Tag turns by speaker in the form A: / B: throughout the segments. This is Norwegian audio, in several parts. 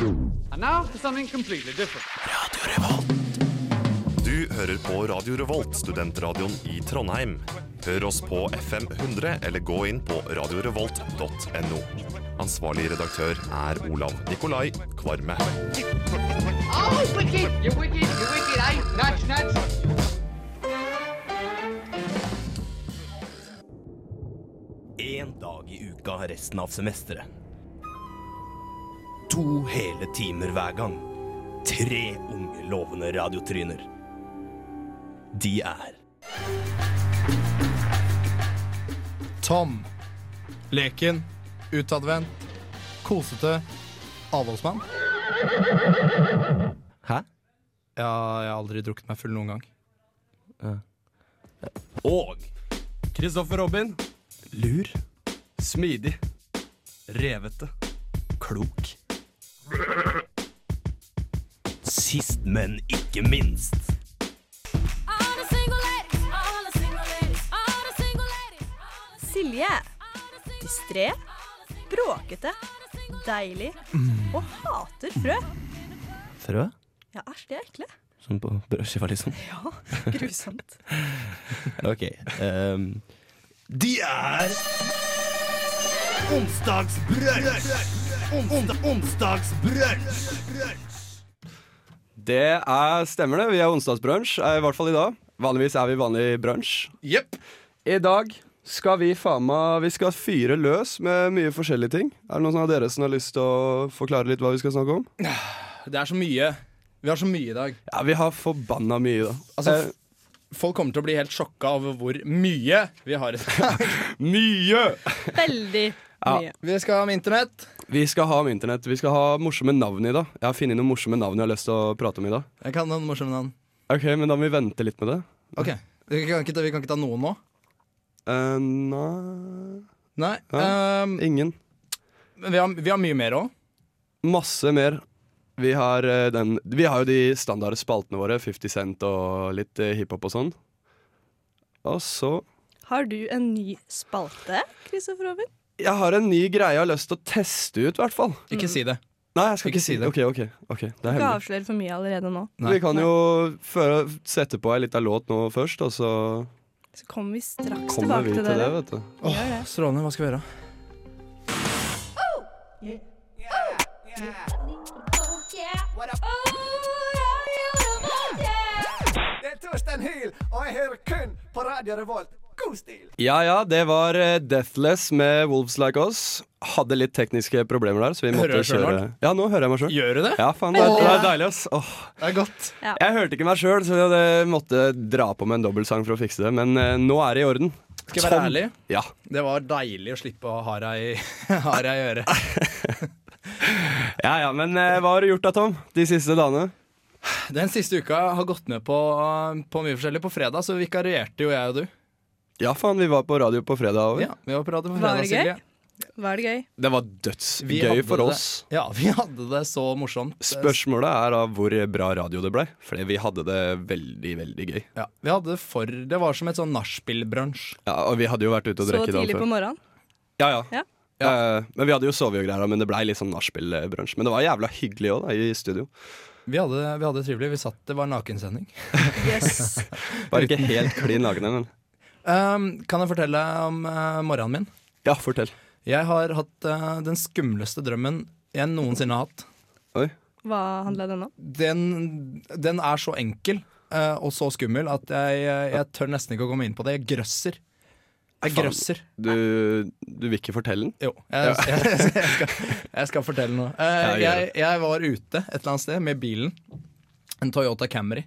A: And now to something completely different.
B: Du hører på Radio Revolt, studentradioen i Trondheim. Hør oss på FM 100 eller gå inn på radiorevolt.no. Ansvarlig redaktør er Olav Nikolai Kvarme.
A: Oh, wicked! You're wicked! You're wicked! eh? I nudge, nudge.
C: Én dag i uka resten av semesteret. To hele timer hver gang. Tre unge, lovende radiotryner. De er
D: Tom. Leken. Utadvendt. Kosete. Avholdsmann.
C: Hæ?
D: Ja, jeg har aldri drukket meg full noen gang.
C: Og
E: Kristoffer Robin.
C: lur.
E: Smidig. Revete.
C: Klok. Sist, men ikke minst.
F: Silje. Distré, bråkete, deilig og hater frø.
C: Frø?
F: Ja, æsj, de er ekle.
C: Sånn på brødskiva, liksom?
F: Ja, grusomt.
C: Ok. ehm, de er Onsdagsbrunsj! Ons- Onsdagsbrunsj!
E: Det er, stemmer det. Vi er onsdagsbrunsj, eh, i hvert fall i dag. Vanligvis er vi vanlig brunsj.
D: Jepp.
E: I dag skal vi faen meg Vi skal fyre løs med mye forskjellige ting. Er det noen av dere som har lyst til å forklare litt hva vi skal snakke om?
D: Det er så mye. Vi har så mye i dag.
E: Ja, vi har forbanna mye, da.
D: Altså,
E: Eh,
D: Folk kommer til å bli helt sjokka over hvor mye vi har i dag.
E: mye!
F: Veldig mye.
D: Vi skal om internett.
E: Vi skal ha om internett. Vi skal ha morsomme navn i dag. Jeg har funnet noen morsomme navn jeg har lyst til å prate om i dag.
D: Jeg kan noen morsomme navn.
E: Ok, men da må vi vente litt med det.
D: Ok, Vi kan ikke ta, vi kan ikke ta noen nå?
E: Eh, nei
D: Nei.
E: Ja.
D: ehm,
E: Ingen.
D: men vi, har, vi har mye mer òg.
E: Masse mer. Vi har, eh, den, vi har jo de standarde spaltene våre. 50 Cent og litt eh, hiphop og sånn. Og så
F: Har du en ny spalte, Kristoffer Robin?
E: Jeg har en ny greie jeg har lyst til å teste ut, i hvert fall.
D: Ikke si det.
E: Nei, jeg skal
D: Ikke
E: ikke,
D: si
E: si
D: det.
E: det. Ok, ok, ok, Det er
F: Ikke
E: hemmelig.
F: avslør for mye allerede nå.
D: Nei.
E: Vi kan jo føre, sette på ei lita låt nå først, og så
F: Så kommer vi straks tilbake
E: kommer vi
F: til
E: til det,
F: dere.
E: vet du.
F: Vi gjør det.
D: Strålende. Hva skal vi gjøre?
E: Ja ja, det var eh, Deathless med Wolves Like Us. Hadde litt tekniske problemer der, så vi måtte
D: Hører du deg selv,
E: kjøre Ja, nå hører jeg meg sjøl.
D: Gjør du det?
E: Ja, faen, det er, det er deilig, ass. Åh.
D: Det er godt.
E: Jeg hørte ikke meg sjøl, så jeg måtte dra på med en dobbeltsang for å fikse det. Men eh, nå er det i orden.
D: Skal jeg være
E: Tom-
D: ærlig?
E: Ja.
D: Det var deilig å slippe å ha deg i, ha deg i øret.
E: ja ja, men eh, hva har du gjort da, Tom? De siste dagene?
D: Den siste uka har gått med på, på mye forskjellig. På fredag så vikarierte jo jeg og du.
E: Ja, faen, vi var på radio på fredag òg.
D: Ja, vi var på radio på
F: Var
D: fredag,
F: det
D: Silje.
F: gøy? Var det gøy?
E: Det var
D: Vi
E: dødsgøy
D: hadde
E: for
D: det-
E: oss.
D: Ja, vi hadde det så morsomt.
E: Spørsmålet er da hvor bra radio det blei, fordi vi hadde det veldig, veldig gøy.
D: Ja, vi hadde det for Det var som et sånn nachspiel-brunsj.
E: Ja, og vi hadde jo vært ute og
F: Så
E: drukket dagen
F: tidlig på
E: før.
F: morgenen?
E: Ja, ja.
F: Ja.
E: Eh, men vi hadde jo sovet og greier, da, men det blei litt sånn nachspiel-brunsj. Men det var jævla hyggelig òg, da, i studio.
D: Vi hadde, vi hadde det trivelig. Vi satt Det var nakensending.
F: Yes.
E: Bare ikke helt klin nagne, men
D: Um, kan jeg fortelle om eh, morgenen min?
E: Ja, fortell.
D: Jeg har hatt eh, den skumleste drømmen jeg noensinne har hatt.
E: Oi.
F: Hva handla den om?
D: Den, den er så enkel eh, og så skummel at jeg, eh, jeg tør nesten ikke å komme inn på det. Jeg grøsser. Jeg
E: Faen.
D: grøsser.
E: Du, du vil ikke fortelle den?
D: Jo, jeg, jeg, jeg, skal, jeg skal fortelle noe. Eh,
E: Ja,
D: jeg,
E: gjør
D: jeg var ute et eller annet sted med bilen. En Toyota Camry.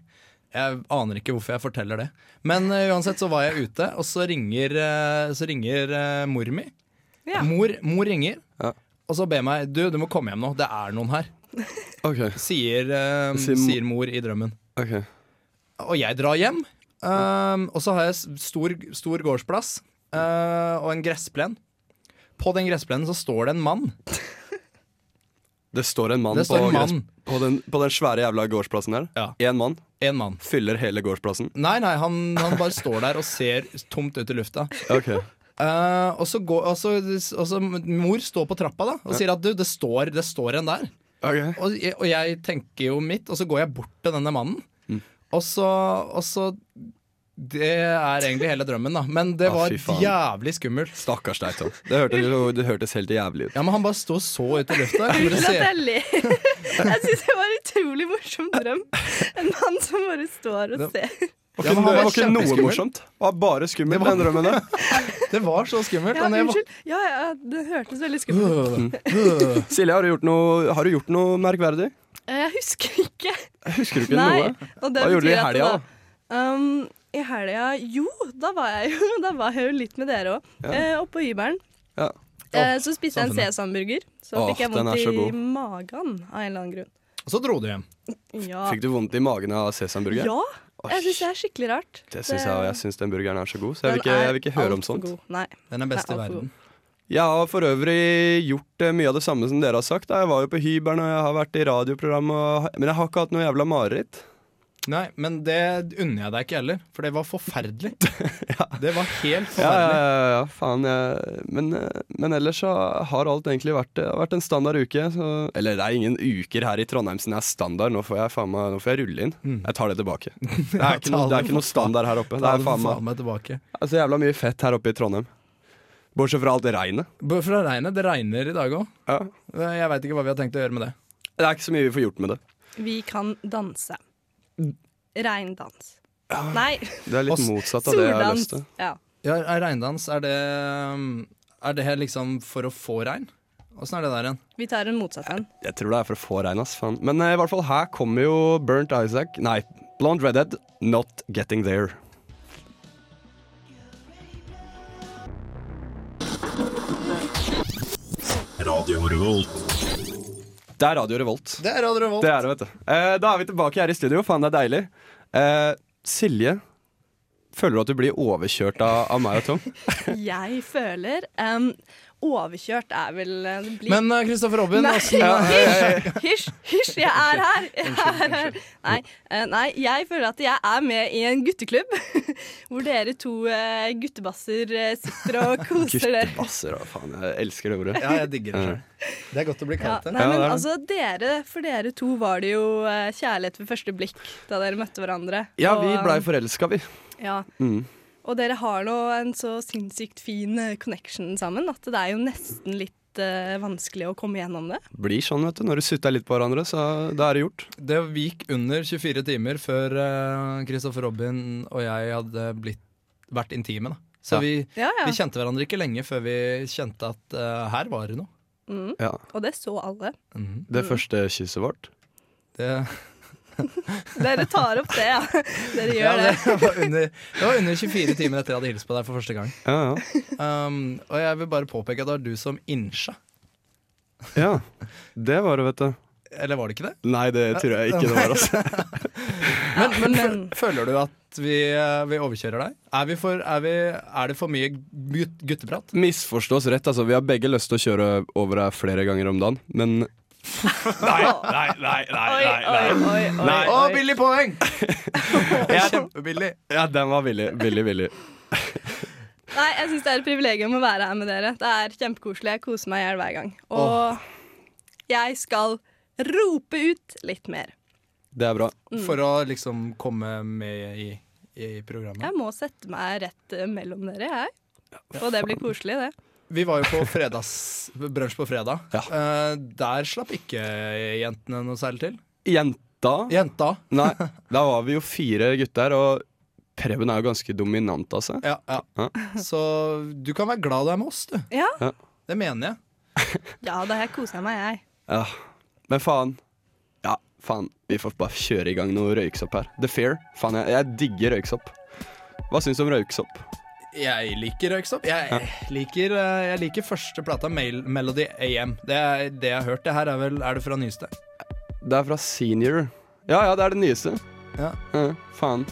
D: Jeg aner ikke hvorfor jeg forteller det. Men eh, uansett så var jeg ute, og så ringer, eh, så ringer eh, mor mi.
F: Ja.
D: Mor, mor ringer,
E: Ja.
D: og så ber meg Du, du må komme hjem nå. Det er noen her.
E: Ok,
D: Sier, eh,
E: Sier mo-
D: sier mor i drømmen.
E: ok
D: Og jeg drar hjem. ehm, og så har jeg s- stor, stor gårdsplass eh, og en gressplen. På den gressplenen så står det en mann.
E: Det står en mann,
D: Det står
E: på,
D: en mann.
E: gress- På, den, på den svære jævla gårdsplassen der.
D: Ja.
E: En mann
D: En mann.
E: fyller hele gårdsplassen.
D: Nei, nei, han, han bare står der og ser tomt ut i lufta.
E: Ok
D: Eh, og, så går, og, så, og så mor står på trappa da og sier at du, det står, det står en der.
E: Ok.
D: Og, jeg- og jeg tenker jo mitt, og så går jeg bort til denne mannen.
E: Mm.
D: Og, så, og så Det er egentlig hele drømmen, da. Men det
E: Ah,
D: var
E: fy faen.
D: jævlig skummelt.
E: Stakkars deg, Tom. Det, hørte, det hørtes helt jævlig ut.
D: Ja, men han bare står så ut i lufta. Kan dere
F: Unnskyld at
D: se-
F: jeg ler. Jeg syns det var en utrolig morsom drøm. En mann som bare står og ser.
E: Det
D: Ja, men han
E: var
D: var
E: ikke noe
D: kjempeskummel.
E: morsomt. Det var bare skummelt, den drømmen der.
D: Det var så skummelt.
F: Ja,
D: og når jeg våk-
F: unnskyld. Ja, ja, det hørtes veldig skummelt ut.
E: Silje, har du gjort noe, har du gjort noe merkverdig?
F: Eh, Jeg husker ikke.
E: Husker du ikke
F: Nei.
E: noe?
F: Og det
E: Hva gjorde du i
F: betyr at det
E: helga,
F: var-
E: da?
F: Um, I helga Jo, da var jeg jo, da var jeg jo litt med dere òg. Eh, Oppå hybelen.
E: Ja.
F: Eh, så spiste jeg en
D: samfunnet.
F: sesamburger. Så
E: Åh,
F: fikk jeg
E: den
F: vondt
E: er så
F: i
E: god.
F: magen av en eller annen grunn.
D: Og så dro du hjem.
F: Ja.
E: Fikk du vondt i magen av sesamburger?
F: ja.
E: Oi.
F: Jeg syns det er skikkelig rart.
E: Det syns jeg, og jeg syns den burgeren er så god, så jeg
F: Den
E: vil ikke, jeg vil
F: er
E: ikke høre om
F: altfor
E: sånt.
F: god. Nei.
D: Den er best
F: Nei,
D: i
F: alt for
D: verden.
E: Jeg har for øvrig gjort eh, mye av det samme som dere har sagt. da. Jeg var jo på hybelen, og jeg har vært i radioprogram, og, men jeg har ikke hatt noe jævla mareritt.
D: Nei, men det unner jeg deg ikke heller, for det var forferdelig. Det var helt
E: Ja, ja,
D: forferdelig.
E: ja, ja faen. Jeg, men, eh, men ellers så har alt egentlig vært, det har vært en standard uke. Så, eller det er ingen uker her i Trondheim som er standard. Nå får jeg, faen meg, nå får jeg rulle inn. Jeg tar det tilbake. Det er ikke, noe, det er ikke noe standard her oppe. Mm. Det
D: Ta
E: er
D: den
E: faen meg
D: faen meg tilbake.
E: det er så jævla mye fett her oppe i Trondheim. Bortsett fra alt regnet.
D: Bort Fra regnet. Det regner i dag òg.
E: Ja.
D: Jeg veit ikke hva vi har tenkt å gjøre med det.
E: Det er ikke så mye vi får gjort med det.
F: god. Vi kan danse.
E: Mm.
F: Regndans.
E: Ah,
F: Nei,
E: Det er litt
D: Oss-
E: motsatt av det jeg har
F: soldans.
E: lyst til.
F: Ja.
D: Ja, er Regndans, er det um, Er det her liksom for å få regn? Åssen er det der igjen?
F: Vi tar en motsatt en.
E: Jeg tror det er for å få regn, ass. Faen. Men eh, i hvert fall her kommer jo Burnt Isaac Nei, Blonde Redhead, Not Getting There. Det er Radio Revolt.
D: Det er Radio Revolt.
E: Det er det, vet du. Eh, da er vi tilbake her i studio. Faen, det er deilig. Eh, Silje, føler du at du blir overkjørt av, av meg og Tom?
F: Jeg føler em, Overkjørt er vel eh, det blir
D: Men eh, Kristoffer Robin,
F: Nei,
D: åssen
F: hysj, hysj, hysj, jeg er her! Jeg er her. Nei, eh, nei, jeg føler at jeg er med i en gutteklubb. Hvor dere to eh, guttebasser eh, sitter og koser dere.
E: Guttebasser, å, faen. Jeg elsker det ordet.
D: Ja, jeg digger det sjøl. Det er godt å bli
F: Ja,
D: kalt det.
F: nei,
E: Ja,
F: men
E: det er det.
F: altså, dere, For dere to var det jo eh, kjærlighet ved første blikk da dere møtte hverandre.
E: Ja,
F: Og,
E: vi blei
F: eh,
E: forelska, vi.
F: ja.
E: Mm.
F: Og dere har nå en så sinnssykt fin eh, connection sammen at det er jo nesten litt eh, vanskelig å komme gjennom det.
E: Blir sånn, vet du. Når du sutter litt på hverandre, så da er det gjort.
D: Det gikk under 24 timer før Kristoffer Robin og jeg hadde blitt, vært intime. Da. Så
E: Ja.
D: vi,
F: Ja, ja.
D: vi kjente hverandre ikke lenge før vi kjente at eh, her var det noe.
E: Ja.
F: Og det så alle.
E: Det første kysset vårt.
D: Det,
F: Dere tar opp det, ja. Dere gjør
D: ja,
F: det.
D: det, var under, det var under 24 timer etter jeg hadde hilst på deg for første gang.
E: Ja, ja.
D: Um, og jeg vil bare påpeke at det var du som innsja.
E: ja. Det var det, vet du.
D: Eller var det ikke det?
E: Nei, det tror jeg ikke det var. Altså.
D: Men, men,
F: men-
D: fø- føler du at vi, eh, vi overkjører deg? Er, vi for, er, vi, er det for mye gut- gutteprat?
E: Misforstås rett, altså. Vi har begge lyst til å kjøre over her flere ganger om dagen, men Nei, nei, nei, nei.
F: Oi, oi, oi. oi,
D: Å,
F: oi.
D: billig poeng!
E: Jeg,
D: Kjempebillig.
E: ja, den var villig. Villig, villig.
F: Nei, jeg syns det er et privilegium å være her med dere. Det er kjempekoselig. Jeg koser meg i hjel hver gang. Og jeg skal rope ut litt mer.
E: Det er bra.
D: For å liksom komme med i, i programmet.
F: Jeg må sette meg rett eh, mellom dere, jeg. Og det blir koselig, det.
D: Vi var jo på fredags brunsj på fredag.
E: Ja.
D: Eh, der slapp ikke jentene noe særlig til.
E: Jenta?
D: Jenta.
E: Nei, da var vi jo fire gutter, og Preben er jo ganske dominant, altså.
D: Ja, ja.
E: Ja.
D: Så du kan være glad du er med oss, du.
F: Ja,
D: Det mener jeg.
F: ja da har jeg kosa meg, jeg.
E: Ja. Men faen. Ja, faen. Vi får bare kjøre i gang noe røyksopp her. The Fair. Faen, jeg, jeg digger røyksopp. Hva syns du om røyksopp?
D: Jeg liker Røyksopp. Jeg liker, eh, jeg liker første plata, Mel Melody AM. Det, er, det jeg har hørt, det her er vel Er det fra nyeste?
E: Det er fra Senior. Ja, ja, det er det nyeste.
D: Ja.
E: faen.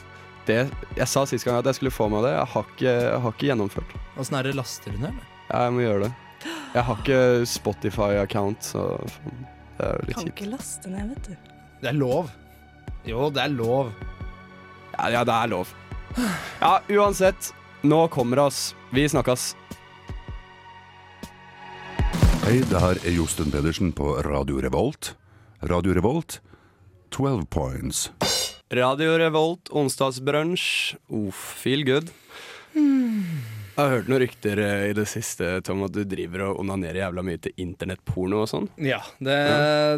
E: Det, jeg sa sist gang at jeg skulle få meg det. Jeg har ikke, jeg har ikke gjennomført.
D: Åssen er det? Laster du ned, eller?
E: Ja, jeg må gjøre det. Jeg har ikke Spotify-account, så faen. Det er jo litt
F: Kan
E: kjipt.
F: ikke laste ned, vet du.
D: Det er lov. Jo, det er lov.
E: Ja, ja, det er lov. Ja, uansett. Nå kommer det, ass. Vi snakkes.
G: Hei, det her er Josten Pedersen på Radio Revolt. Radio Revolt, 12 points.
E: Radio Revolt, onsdagsbrunsj. Uff, feel good. Jeg har hørt noen rykter eh, i det siste Tom, at du driver og onanerer jævla mye til internettporno og sånn.
D: Ja, det,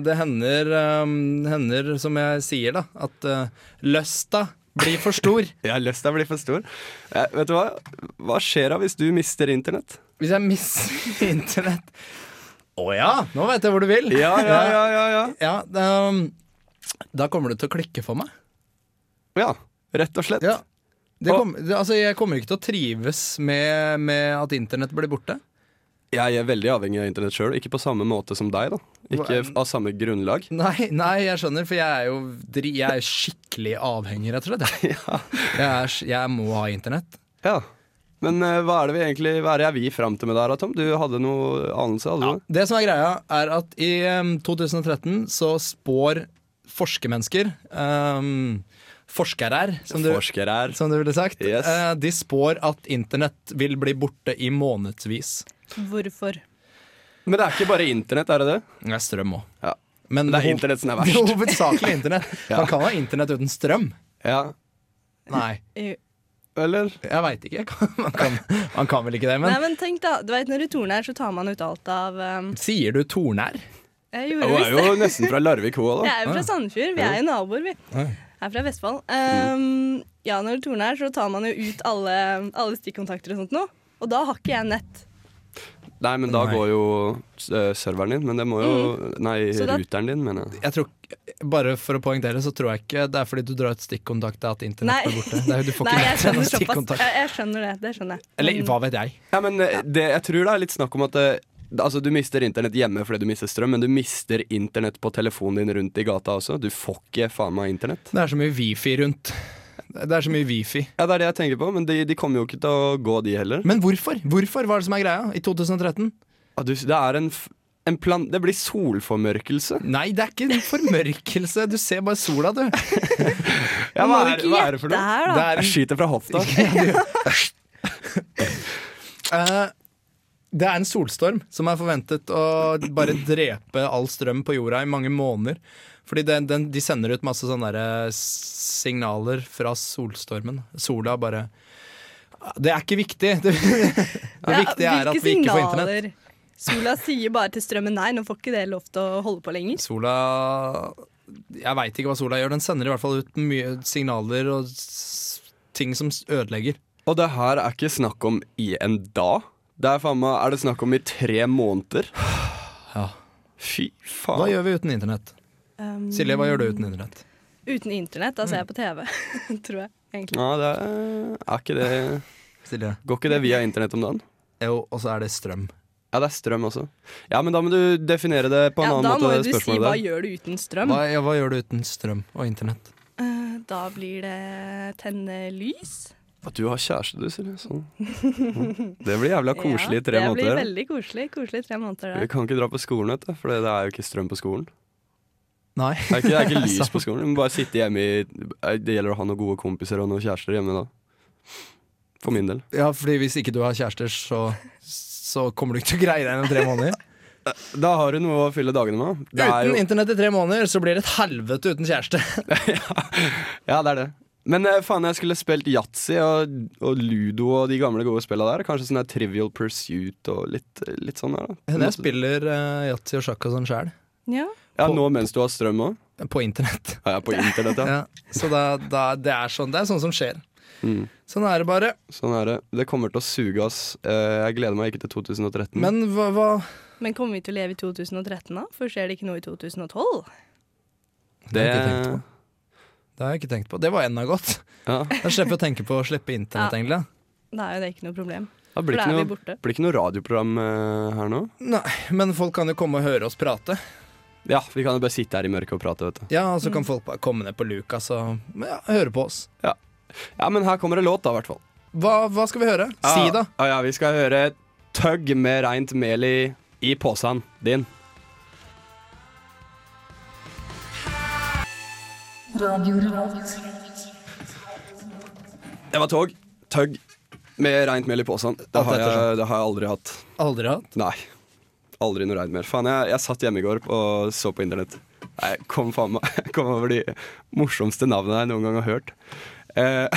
D: det hender, um, hender, som jeg sier, da, at eh, lysta blir for stor.
E: Jeg har lyst til å bli for stor. Eh, vet du hva? Hva skjer da hvis du mister internett?
D: Hvis jeg mister internett Å ja, nå vet jeg hvor du vil.
E: Ja, ja, ja, ja. Ja,
D: Ja, da, um, da kommer det til å klikke for meg.
E: ja rett og slett.
D: Ja. Det kom, det, altså, jeg kommer ikke til å trives med, med at internett blir borte.
E: Jeg er veldig avhengig av internett sjøl, ikke på samme måte som deg, da. Ikke av samme grunnlag.
D: Nei, nei, jeg skjønner, for jeg er jo dri, jeg er skikkelig avhengig, rett og slett. Jeg, jeg, er, s- jeg må ha internett.
E: Ja. Men eh, hva er det vi egentlig Hva er det vi fram til med der, da, Tom? Du hadde noe anelse? Hadde du?
D: Det som er greia, er at i em, 2013 så spår forskermennesker em, Forskere her, som du,
E: Forsker er
D: som du ville sagt.
E: Yes.
D: eh, De spår at internett vil bli borte i månedsvis.
F: Hvorfor?
E: Men det er ikke bare internett, er det det?
D: Det er strøm òg.
E: Ja.
D: Men
E: Det er
D: hov-
E: internett som er
D: det
E: verst.
D: Hovedsakelig internett.
E: Ja.
D: Man kan ha internett uten strøm.
E: Ja.
D: Nei,
F: Jo.
E: Eller?
D: jeg veit ikke. Jeg kan- Man kan, man kan vel ikke det.
F: Nei,
D: Men
F: men tenk da, du vet når du torner, så tar man ut alt av um,
D: sier du tornær?
F: Jeg
E: Hun
F: gjorde
E: er
F: visst
E: jo nesten fra Larvik, hun òg,
F: Jeg
E: da.
F: er jo fra
D: Ah.
F: Sandefjord. Vi er jo naboer, vi. Jeg er fra Vestfold.
D: Mm.
F: Um, ja, når tornet er, så tar man jo ut alle, alle stikkontakter og sånt nå. Og da har ikke jeg nett.
E: Nei, men da
D: Nei.
E: går jo eh, serveren din. Men det må jo Nei,
F: Mm. Så da-
E: ruteren din, mener jeg.
D: Jeg tror, bare for å poengtere, så tror jeg ikke det er fordi du drar ut stikkontaktet at internett
F: Nei.
D: er borte. Det er, jo- du får
F: Nei,
D: ikke
F: jeg
D: nett gjennom
F: skjønner såpass.
D: stikkontakt.
F: Jeg, jeg skjønner det. Det skjønner jeg.
D: Eller hva vet jeg.
E: Ja, men eh, det, jeg tror det er litt snakk om at eh, Altså, Du mister internett hjemme fordi du mister strøm, men du mister internett på telefonen din rundt i gata også. Du får ikke faen meg internett.
D: Det er så mye wifi rundt. Det er så mye wifi.
E: Ja, Det er det jeg tenker på, men de, de kommer jo ikke til å gå, de heller.
D: Men hvorfor? Hvorfor var det som er greia i 2013?
E: Ja, du, det er en, f- en plan... Det blir solformørkelse.
D: Nei, det er ikke en formørkelse. Du ser bare sola, du.
E: Ja,
F: Må du ikke gjette
E: noe?
F: her, da?
D: Det er en
E: Jeg skyter fra hofta.
D: Eh, Det er en solstorm som er forventet å bare drepe all strøm på jorda i mange måneder. Fordi den, den, de sender ut masse sånne der eh, signaler fra solstormen. Sola bare Det er ikke viktig! Det, det
F: Ja,
D: viktige er at vi ikke får internett.
F: signaler? Sola sier bare til strømmen nei, nå får ikke det lov til å holde på lenger.
D: Sola Jeg veit ikke hva sola gjør. Den sender i hvert fall ut mye signaler og s- ting som s- ødelegger.
E: Og det her er ikke snakk om i en dag. Det er, faen meg, er det snakk om i tre måneder?
D: Ja.
E: Fy
D: Hva
E: faen.
D: gjør vi uten internett?
F: Um,
D: Silje, hva gjør du uten internett?
F: Uten internett, da ser jeg på TV, tror jeg. Egentlig.
E: Ja, det er, er ikke det
D: Silje.
E: Går ikke det via internett om dagen?
D: Jo, og så er det strøm.
E: Ja, det er strøm også. Ja, men da må du definere det på en
F: Ja,
E: annen
F: da må
E: måte.
F: jo du si
E: spørsmålet
F: hva
E: der.
F: gjør du uten strøm?
D: Hva, ja, hva gjør du uten strøm og internett?
F: Eh, Da blir det tenne lys.
E: At du har kjæreste, du, Silje. Sånn. Det blir jævla koselig i tre
F: det
E: måneder.
F: blir veldig koselig. Koselig i tre måneder
E: Vi
F: der.
E: kan ikke dra på skolen, vet du, for det er jo ikke strøm på skolen.
D: Nei.
E: Det er ikke, det er ikke lys
D: Sånn.
E: på skolen. Du må bare sitte hjemme i eh, Det gjelder å ha noen gode kompiser og noen kjærester hjemme da. For min del.
D: Ja, fordi hvis ikke du har kjærester, så, så kommer du ikke til å greie deg gjennom tre måneder.
E: Da har du noe å fylle dagene med. da. Det er
D: Uten
E: jo,
D: internett i tre måneder, så blir det et helvete uten kjæreste.
E: ja, det er det. Men eh, faen, jeg skulle spilt yatzy og, og ludo og de gamle gode spilla der. Kanskje sånn der Trivial Pursuit og litt, litt sånn der, da.
D: Jeg spiller eh, yatzy og sjakk og sånn sjæl,
F: Ja.
E: Ja, nå mens du har strøm òg.
D: på internett.
E: Ja, jeg er på internett, ja.
D: Ja. Så da, da, det, er sånn, det er sånn som skjer.
E: Mm.
D: Sånn er det bare.
E: Sånn er det. Det kommer til å suge, ass. Eh, Jeg gleder meg ikke til 2013.
D: Men hva, hva
F: Men kommer vi til å leve i 2013 da? For skjer det ikke noe i 2012?
D: Det
E: det
D: har jeg ikke tenkt på. Det har jeg ikke tenkt på. Det var enda godt.
E: Ja.
D: Da slipper jeg å tenke på å slippe internett,
F: Ja.
D: egentlig.
F: Da er jo det ikke noe problem.
E: Det
F: For
E: blir
F: da
E: ikke
F: er vi
E: noe,
F: borte.
E: blir ikke noe radioprogram eh, her nå.
D: Nei, men folk kan jo komme og høre oss prate.
E: Ja, vi kan jo bare sitte her i mørket og prate, vet du.
D: Ja, og så
F: Mm.
D: kan folk bare komme ned på Lukas og ja, høre på oss.
E: Ja, men her kommer det låt, da, i hvert fall.
D: Hva, hva skal vi høre?
E: Ah.
D: Si da.
E: Ja, ja, vi skal høre Tøgg med reint mel i, i posen din. Det var tog. Tøgg med reint mel i posen. Det,
D: Alt
E: har
D: etter seg.
E: jeg- det har jeg aldri hatt.
D: Aldri hatt.
E: Nei. Aldri noe reint mel. Faen, jeg, jeg satt hjemme i går og så på internett. Jeg kom, faen meg, jeg kom over de morsomste navnene jeg noen gang har hørt. Eh,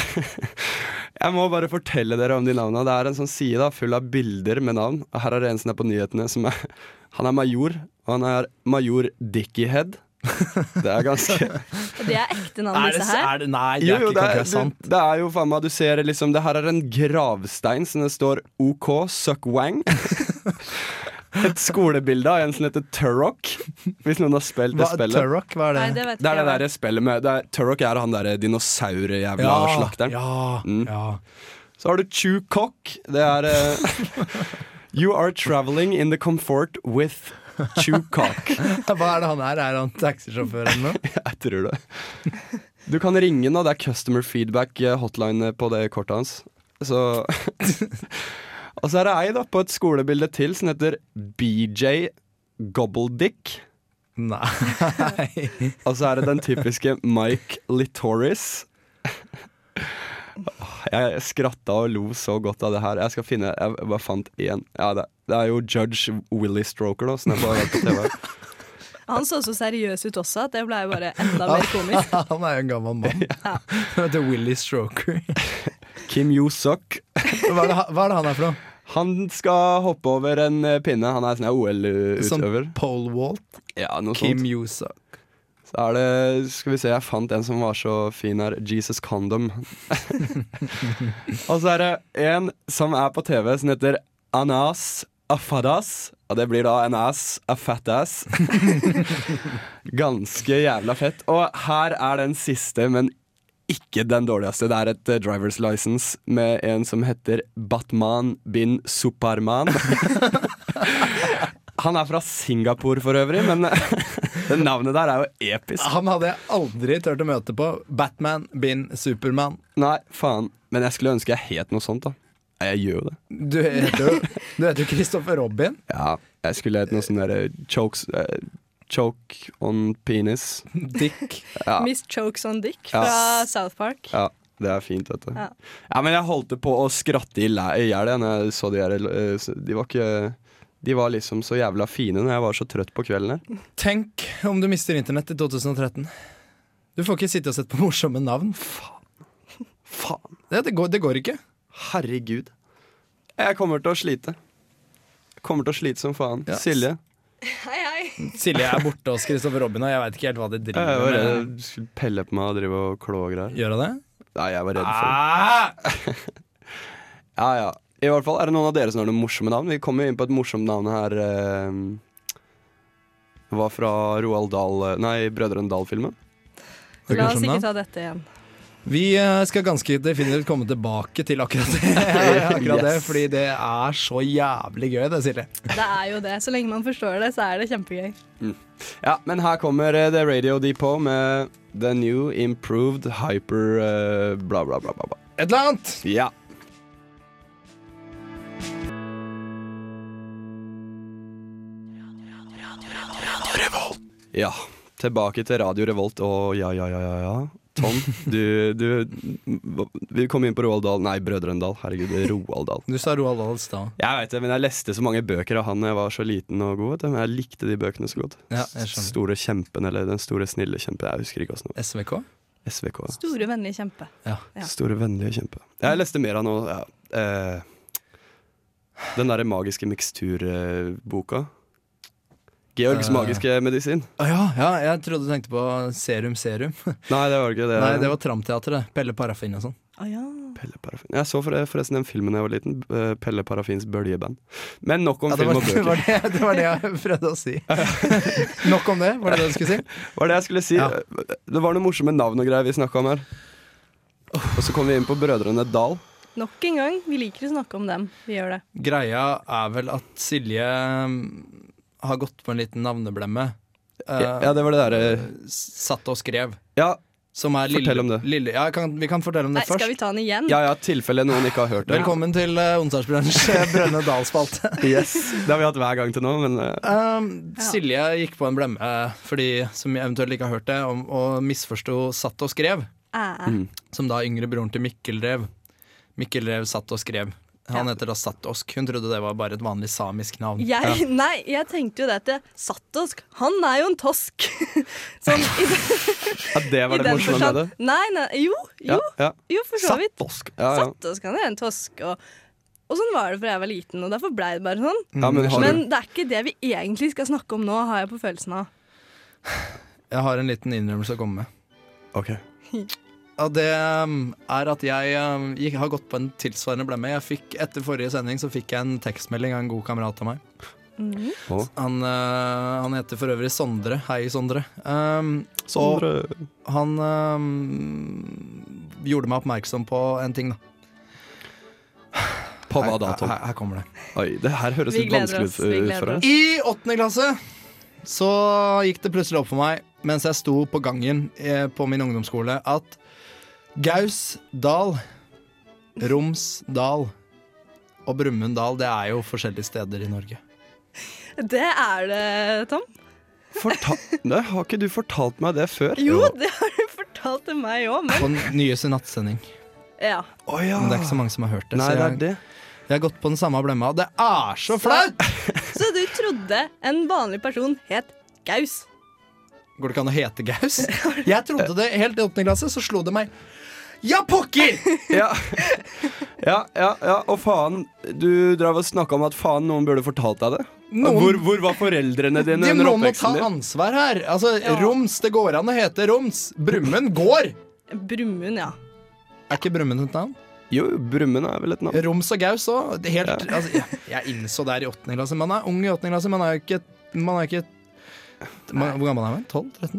E: jeg må bare fortelle dere om de navnene. Det er en sånn side da, full av bilder med navn. Og her er det en som er på nyhetene. Som er, han er major, og han er major Dickiehead. Det er ganske
F: Og det er ekte navn,
D: Er det,
F: disse her.
D: er det, nei, det
E: jo,
D: er
E: jo,
D: ikke
E: det,
D: konkret
E: er,
D: sant.
E: du, det er jo faen meg Du ser liksom Det her er en gravstein som det står OK, suck wang. Et skolebilde av en som heter Turok. Hvis noen har spilt det
D: Hva,
E: spillet.
D: Turok, hva er det?
F: Nei, det vet
E: Det
F: ikke
E: er det
F: jeg.
E: der jeg spiller med det er, Turok er han derre dinosaurjævla slakteren. Mm.
D: ja, ja.
E: Så har du Chew Cock. Det er eh, You are traveling in the comfort with Chew Cock.
D: Hva er det han er? Er han taxisjåfør eller noe?
E: Jeg tror det. Du kan ringe nå. Det er customer feedback eh, hotline på det kortet hans. Så Og så er det ei da på et skolebilde til som heter BJ Gobbledick.
D: Nei.
E: Og så er det den typiske Mike Litoris. Jeg skratta og lo så godt av det her. Jeg skal finne Jeg bare fant én. Ja, det, det er jo Judge Willy Stroker, da, som jeg bare har vært på TV.
F: Han så så seriøs ut også, at det ble jo bare enda mer komisk.
D: Han er jo en gammel mann. Han heter Willy Stroker.
E: Kim Yo-Suk.
D: Hva er, det, hva er det han er for noe?
E: Han skal hoppe over en eh, pinne. Han er sånn
D: Som
E: OL-utøver.
D: pole vault?
E: Ja, noe
D: Kim
E: sånt.
D: Yusa.
E: Så er det Skal vi se, jeg fant en som var så fin her. Jesus Condom. Og så er det en som er på TV, som heter Anas Afadas. Og det blir da en ass a fat ass. Ganske jævla fett. Og her er den siste, men ikke den dårligste. Det er et eh, driver's license med en som heter Batman bin Superman. Han er fra Singapore for øvrig, men det navnet der er jo episk.
D: Han hadde jeg aldri turt å møte på. Batman bin Superman.
E: Nei, faen. Men jeg skulle ønske jeg het noe sånt, da. Nei, Jeg gjør jo det.
D: Du heter jo Du heter jo Christopher Robin.
E: Ja, jeg skulle hett noe sånn derre chokes eh, Choke on penis.
D: Dick.
E: Ja.
F: Miss Chokes on Dick
E: Ja.
F: fra South Park.
E: ja, det er fint, dette. Ja.
F: Ja.
E: men jeg holdt det på å skratte i læ- i hjel jeg, når jeg så de her eh, s- De var ikke De var liksom så jævla fine når jeg var så trøtt på kvelden her.
D: Tenk om du mister internett i 2013. Du får ikke sitte og sett på morsomme navn.
E: Faen.
D: Det, det, går, det går ikke.
E: Herregud. Jeg kommer til å slite. Jeg Kommer til å slite som faen.
D: Ja.
E: Silje.
F: Hei, hei.
D: Silje er borte hos Christopher Robin, og jeg veit ikke helt hva de
E: Jeg
D: driver
E: var
D: med.
E: redd du skulle pelle på meg og drive og klå og greier.
D: Gjør hun det?
E: Nei, jeg var redd
D: Ah,
E: for Ja, ja. I hvert fall, Er det noen av dere som har noen morsomme navn? Vi kommer jo inn på et morsomt navn her. Eh, var fra Roald Dahl eh, Nei, Brødrene Dal-filmen.
D: Det
F: La
D: går
F: oss
D: som
F: ikke
D: det.
F: ta dette igjen.
D: Vi eh, skal ganske definitivt komme tilbake til akkurat det, akkurat det
E: Yes.
D: fordi det er så jævlig gøy, det, Silje.
F: Det er jo det. Så lenge man forstår det, så er det kjempegøy.
E: Ja, men her kommer eh, The Radio Depot med The New Improved Hyper eh, bla, bla, bla, bla, bla.
D: Et eller annet!
E: Ja. Ja, tilbake til Radio Revolt og ja, ja, ja, ja, ja. Tom, du, du Vi kom inn på Roald Dahl Nei, Brødrene Dal. Herregud, Roald Dahl.
D: Du sa Roald Dahl i stad.
E: Jeg vet det, men jeg leste så mange bøker av han da jeg var så liten og god. vet du, Men jeg likte de bøkene så godt.
D: Ja, jeg skjønner.
E: Store kjempen, eller Den store snille kjempen. Jeg husker ikke åssen det var.
D: SVK?
E: SVK. ja.
F: Store, vennlige kjempe. Ja.
E: Store, vennlige kjempe. Jeg leste mer av noe ja. eh, Den derre magiske miksturboka. Georgs
D: Eh.
E: magiske medisin.
D: Å ja, ja, jeg trodde du tenkte på Serum Serum.
E: Nei, det var ikke det.
D: Nei, det var Tramteatret. Pelle Parafin og sånn.
F: Å ja.
E: Pelle Parafin. Jeg så for- forresten den filmen da jeg var liten. eh, Pelle Parafins bøljeband. Men nok om
D: Ja, det,
E: film
D: var-
E: og
D: det,
E: bøker.
D: var det, det var det jeg prøvde å si. Nok om det, var det det du skulle si?
E: Hva er det jeg skulle si? Eh,
D: Ja.
E: Det var noen morsomme navn og greier vi snakka om her. Og så kom vi inn på Brødrene Dal.
F: Nok en gang. Vi liker å snakke om dem. Vi gjør det.
D: Greia er vel at Silje mm, har gått på en liten navneblemme. Eh,
E: Ja, det var det derre
D: Satt og skrev.
E: ja,
D: Som er
E: Fortell
D: lille,
E: om det.
D: Lille, ja, jeg kan, vi kan fortelle om det
F: Nei, skal
D: først.
F: vi ta den igjen?
E: ja, ja, tilfelle noen ikke har hørt det.
D: Velkommen til uh, Onsdagsbrunsj Brønne Dal-spalte.
E: Yes, Det har vi hatt hver gang til nå, men eh,
D: Um, Silje gikk på en blemme eh, for de som eventuelt ikke har hørt det, om, og misforsto satt og skrev,
F: Æ, æ.
D: som da yngre broren til Mikkel drev. Mikkel drev satt og skrev. Han
F: Ja.
D: heter da Satosk. Hun trodde det var bare et vanlig samisk navn.
F: Jeg, Nei, jeg tenkte jo det til Satosk. Han er jo en tosk. Sånn i,
E: Ja, det
F: i
E: var det
F: den
E: morsomme med
F: forstand.
E: det.
F: Nei, nei, jo, jo,
E: Ja, ja.
F: jo, for så vidt.
E: Sattosk. Ja, ja.
F: Satosk han er en tosk. Og, og sånn var det fra jeg var liten, og derfor blei det bare sånn.
E: ja, Mm, men har
F: Men
E: du
F: det er ikke det vi egentlig skal snakke om nå, har jeg på følelsen av.
D: Jeg har en liten innrømmelse å komme med.
E: Ok.
D: Og det um, er at jeg um, gikk, har gått på en tilsvarende blemme. Jeg fikk, etter forrige sending så fikk jeg en tekstmelding av en god kamerat av meg.
E: Å.
D: Han, uh, han heter for øvrig Sondre. Hei, Sondre. Um,
E: Sondre
D: Og han um, gjorde meg oppmerksom på en ting, da.
E: På hva da, Tom?
D: Her, her kommer det.
E: Oi, det her høres
F: Vi
E: litt
F: gleder
E: vanskelig
F: oss, vi
E: ut uh,
F: gleder
E: for
F: oss.
E: deg.
D: I åttende klasse så gikk det plutselig opp for meg, mens jeg sto på gangen eh, på min ungdomsskole, at Gausdal, Romsdal og Brumunddal, det er jo forskjellige steder i Norge.
F: Det er det, Tom.
E: Forta Nei, har ikke du fortalt meg det før?
F: Jo, det har du fortalt til meg òg, men
D: På den nyeste nattsending.
F: ja.
E: Å ja.
D: Men det er ikke så mange som har hørt det.
E: Nei,
D: så
E: det
D: jeg,
E: er det.
D: jeg har gått på den samme blemma. Det er så flaut!
F: Så du trodde en vanlig person het Gaus?
D: Går det ikke an å hete Gaus? Jeg trodde det helt i åttende klasse, så slo det meg. Ja, pokker!
E: Ja. ja, ja, ja. Og faen, du drev og snakka om at faen, noen burde fortalt deg det.
D: Noen-
E: Hvor, hvor var foreldrene dine
D: De,
E: under
D: noen må ta
E: oppveksten din?
D: ansvar her. Altså,
F: Ja.
D: Roms, det går an å hete Roms. Brumund går!
F: Brumund, ja.
D: Er ikke Brumund et navn?
E: Jo, Brumund er vel et navn.
D: Roms og Gaus òg. Altså, jeg, jeg innså det her i åttende klasse. Man er ung i åttende klasse. Man er jo ikke, man er ikke man, Hvor gammel er man? 12-13?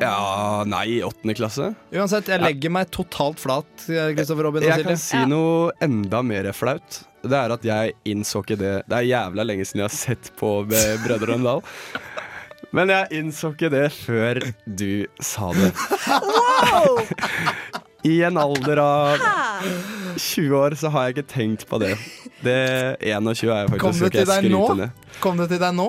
E: Ja, nei, i åttende klasse.
D: Uansett, jeg legger meg totalt flat. Kristoffer Robin og
E: Jeg kan
D: Silje.
E: si
F: Ja.
E: noe enda mer flaut. Det er at jeg innså ikke det Det er jævla lenge siden jeg har sett på Be- Brødrene Dal. Men jeg innså ikke det før du sa det. I en alder av 20 år så har jeg ikke tenkt på det. Det 21 er jeg faktisk
D: Kom det
E: skal
D: til
E: jeg
D: deg nå?
E: skryte ned.
D: Kom det til deg nå?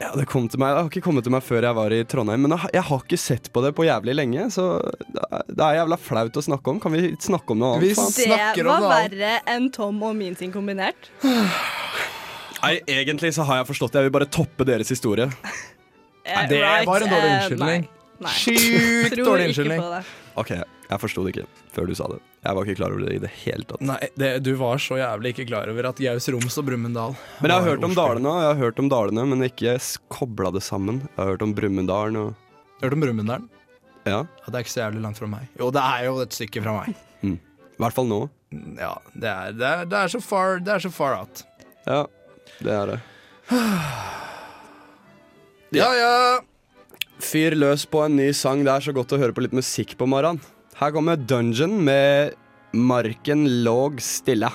E: Ja, det kom til meg. Det har ikke kommet til meg før jeg var i Trondheim. Men jeg har- jeg har ikke sett på det på jævlig lenge, så det er- det er jævla flaut å snakke om. Kan vi snakke om noe annet?
D: Vi
E: faen?
F: Det
D: snakker om
F: var
D: det annet.
F: verre enn Tom og min sin kombinert.
E: Nei, egentlig så har jeg forstått det. Jeg vil bare toppe deres historie.
F: Eh,
D: Det
F: right,
D: var en dårlig
F: eh,
D: unnskyldning.
F: nei, nei.
D: Sjukt
F: Tror
D: dårlig
F: ikke
D: unnskyldning.
F: på det.
E: Ok, jeg forsto det ikke før du sa det. Jeg var ikke klar over det i det hele tatt.
D: Nei, det, du var så jævlig ikke klar over at Gaus, Roms og Brumunddal
E: Men jeg har
D: var
E: hørt om
D: ordspill.
E: Dalene, og jeg har hørt om Dalene, men ikke kobla det sammen. Jeg har hørt om Brumunddalen og
D: Hørt om Brumunddalen?
E: Ja,
D: Ja, det er ikke så jævlig langt fra meg. Jo, det er jo et stykke fra meg.
E: i hvert fall nå.
D: Ja, det er, det er, det er, så, far, det er så far out.
E: Ja, det er det.
D: Ja, ja.
E: Fyr løs på en ny sang. Det er så godt å høre på litt musikk på morgenen. Her kommer Dungeon med Marken låg stille.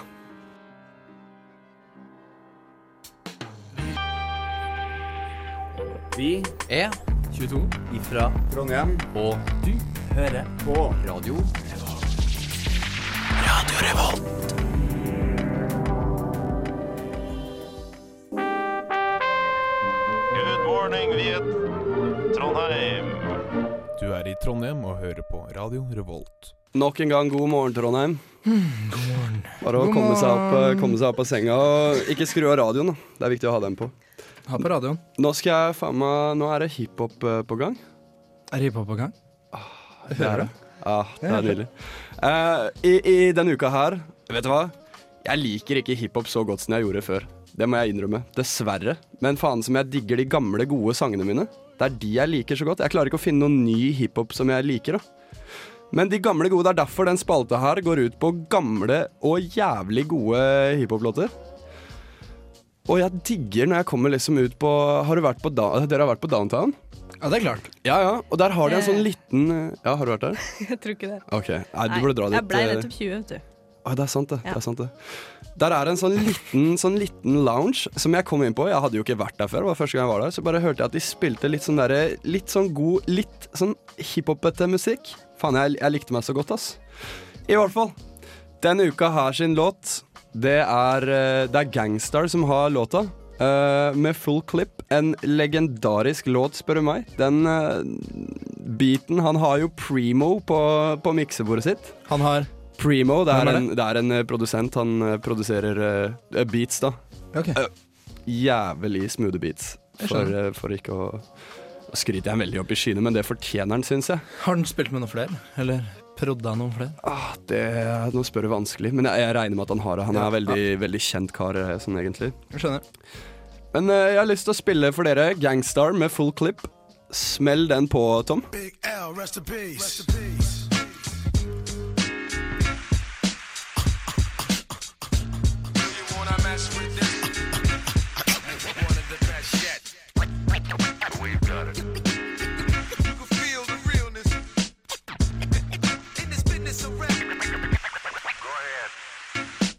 H: Good morning, Viet. Trondheim.
I: Du er i Trondheim og hører på Radio Revolt.
E: Nok en gang god morgen, Trondheim. Bare å komme seg, opp, eh, komme seg opp av senga. Og ikke skru av radioen, da. Det er viktig å ha den på.
D: Ha på radioen.
E: Nå skal jeg faen meg Nå er det hiphop eh, på gang.
D: Er hiphop på gang? Ah,
E: Det er det. Ja, Ah, det er nydelig. Eh, i, I denne uka her, vet du hva? Jeg liker ikke hiphop så godt som jeg gjorde før. Det må jeg innrømme. Dessverre. Men faen som jeg digger de gamle, gode sangene mine. Det er de jeg liker så godt. Jeg klarer ikke å finne noen ny hiphop som jeg liker. da. Men de gamle gode, det er derfor den spalta her går ut på gamle og jævlig gode hiphop-låter. Og jeg digger når jeg kommer liksom ut på Har du vært på da Dere har vært på Downtown?
D: Ja, det er klart.
E: Ja, ja. Og der har de en sånn
F: Eh.
E: liten Ja, har du vært der?
F: Jeg tror ikke det.
E: Ok, Nei, du burde
F: Nei,
E: dra dit.
F: jeg ble
E: eh,
F: nettopp 20, vet du.
E: Å, det er sant, det.
F: Ja.
E: det er sant det. Der er en sånn liten, sånn liten lounge som jeg kom inn på. Jeg hadde jo ikke vært der før. det var første gang jeg var der Så bare hørte jeg at de spilte litt sånn derre Litt sånn god, litt sånn hiphopete musikk. Faen, jeg, jeg likte meg så godt, ass. I hvert fall. Denne uka her sin låt, det er, eh, det er Gangstar som har låta. eh, med full clip. En legendarisk låt, spør du meg. Den eh, beaten Han har jo primo på, på miksebordet sitt.
D: Han har
E: Primo, det er,
D: Hvem er
E: En, det er en eh, produsent. Han eh, produserer eh, beats, da.
D: Ok.
E: Jævlig smooth beats.
D: Jeg
E: For,
D: skjønner.
E: eh, for ikke å Nå skryter jeg veldig opp i skyene, men det fortjener han, syns jeg.
D: Har han spilt med noen flere? Eller prodda han noen flere?
E: Ah, det, nå spør du vanskelig, men jeg, jeg regner med at han har det. Han er veldig, veldig kjent kar, eh, sånn egentlig.
D: Jeg skjønner.
E: Men eh, jeg har lyst til å spille for dere Gangstar med full clip. Smell den på, Tom.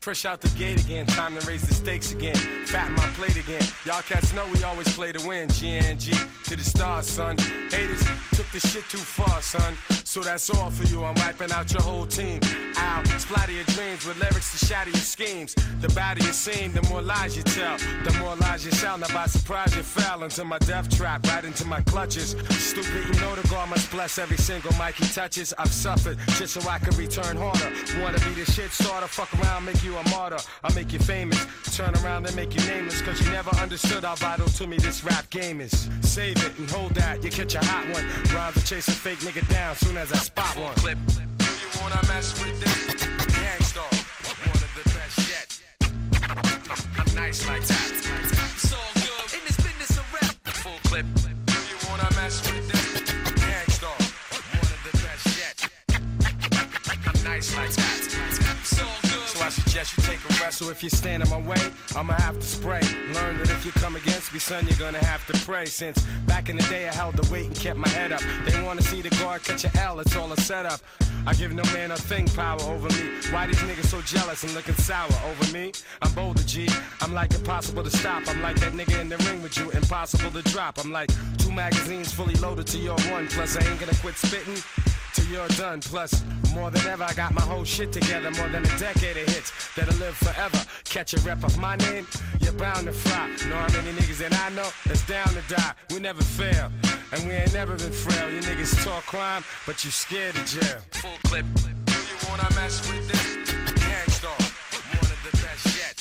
J: Fresh out the gate again, time to raise the stakes again. Fat my plate again. Y'all cats know we always play to win. GNG to the stars, son. Haters took the shit too far, son. So that's all for you. I'm wiping out your whole team. Ow, splatter your dreams with lyrics to shatter your schemes. The badder you seem, the more lies you tell. The more lies you sound. Now by surprise you fell into my death trap, right into my clutches. Stupid, you know the God must bless every single mic he touches. I've suffered just so I can return harder. Wanna be the shit starter? Fuck around, make you a martyr. I make you famous. Turn around and make you nameless. Cause you never understood how vital to me this rap game is. Save it and hold that, you catch a hot one. Rhymes will chase a fake nigga down soon as I spot one. Clip. Do you wanna mess with this? Gangstar, one of the best yet. I'm nice like that. It's all good. In this business, a rap. Full clip. Do you wanna mess with this? Gangstar, one of the best yet. I'm nice like that. So good. So I suggest you take a rest. So if you stand in my way, I'ma have to spray. Learn that if you come against me, son, you're gonna have to pray. Since back in the day, I held the weight and kept my head up. They wanna see the guard catch a L. It's all a setup. I give no man a thing power over me. Why these niggas so jealous and looking sour over me? I'm bolder, G. I'm like impossible to stop. I'm like that nigga in the ring with you, impossible to drop. I'm like two magazines fully loaded to your one. Plus, I ain't gonna quit spitting till you're done. Plus, more than ever, I got my whole shit together. More than a decade of hits that'll live forever. Catch a rep of my name, you're bound to fry. Know how many niggas that I know that's down to die. We never fail, and we ain't never been frail. You niggas talk crime, but you scared of jail. Full clip. Do you wanna mess with this? Gangstar, one of the best yet.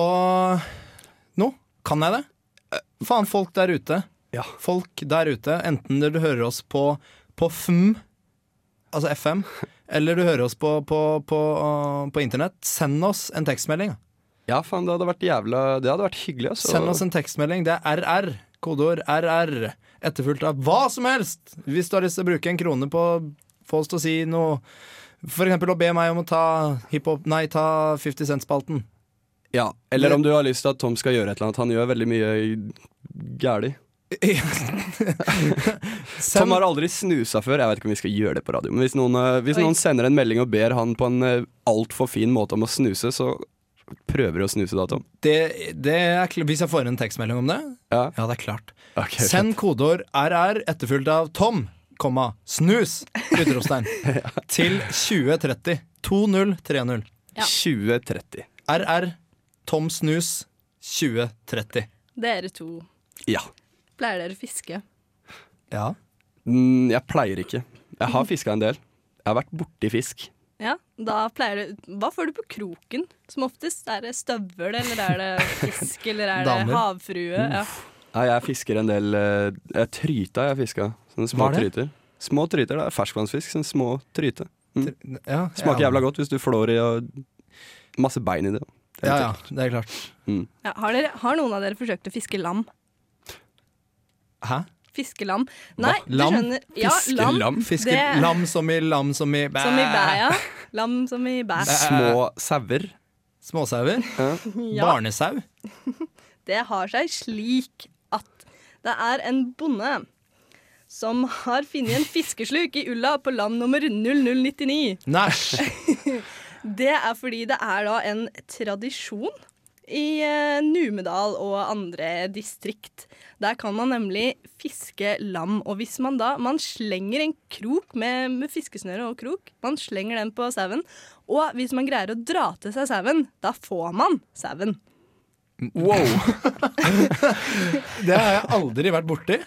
D: noe. Kan jeg det? Eh, Faen, folk der ute.
E: Ja.
D: Folk der ute, enten du hører oss på, på FM, altså FM, eller du hører oss på, på, på, eh, på internett, send oss en tekstmelding.
E: Ja, faen, det hadde vært jævla Det hadde vært hyggelig, altså.
D: Send oss en tekstmelding. Det er RR. Kodeord RR. Etterfulgt av hva som helst! Hvis du har lyst til å bruke en krone på å få oss til å si noe. For eksempel å be meg om å ta hiphop Nei, ta 50 Cent-spalten.
E: Ja, Eller om du har lyst til at Tom skal gjøre et eller annet. Han gjør veldig mye gæli. Tom
D: Send,
E: har aldri snusa før. Jeg vet ikke om vi skal gjøre det på radio. Men hvis noen, eh, hvis
F: Oi.
E: noen sender en melding og ber han på en eh, altfor fin måte om å snuse, så prøver å snuse da, Tom?
D: Det, det er, kl- hvis jeg får en tekstmelding om det?
E: Ja.
D: Ja, det er klart.
E: Ok, fett.
D: Send kodeord RR etterfulgt av Tom, komma, snus, utropstegn, til 2030. 2030.
F: Ja.
E: 2030.
D: RR Tom Snus 2030.
F: Dere to,
E: Ja.
F: pleier dere å fiske?
D: Ja.
E: Mm, jeg pleier ikke. Jeg har fiska en del. Jeg har vært borti fisk.
F: Ja, da pleier du Hva får du på kroken? Som oftest er det støvel, eller er det fisk, eller er det
D: Damer.
F: havfrue? Ja.
E: Nei, jeg fisker en del eh, jeg Tryta jeg fiska. Sånne små
D: Hva er det?
E: tryter. Små tryter, det er ferskvannsfisk. Sånne små tryte.
D: ja
E: Mm. Smaker
D: ja.
E: jævla godt hvis du flår i og masse bein i det. Det er
D: Ja,
E: litt
D: ja, det er klart.
F: Ja, har, dere, har noen av dere forsøkt å fiske lam?
D: Hæ?
F: Fiske lam? Nei,
D: Lam?
F: du skjønner ja, lam,
D: Fiske,
F: Det-
D: Lam som i lam som i bæ.
F: Som i bæ, ja. Lam som i bæ.
E: ekkelt. Små sauer.
D: Småsauer.
F: Ja,
D: Barnesau.
F: det har seg slik at det er en bonde som har funnet en fiskesluk i ulla på land nummer 0099.
D: Næsj.
F: Det er fordi det er da en tradisjon i eh, Numedal og andre distrikt. Der kan man nemlig fiske lam. Og hvis man da Man slenger en krok med, med fiskesnøre og krok. Man slenger den på sauen. Og hvis man greier å dra til seg sauen, da får man sauen.
D: Det har jeg aldri vært borti.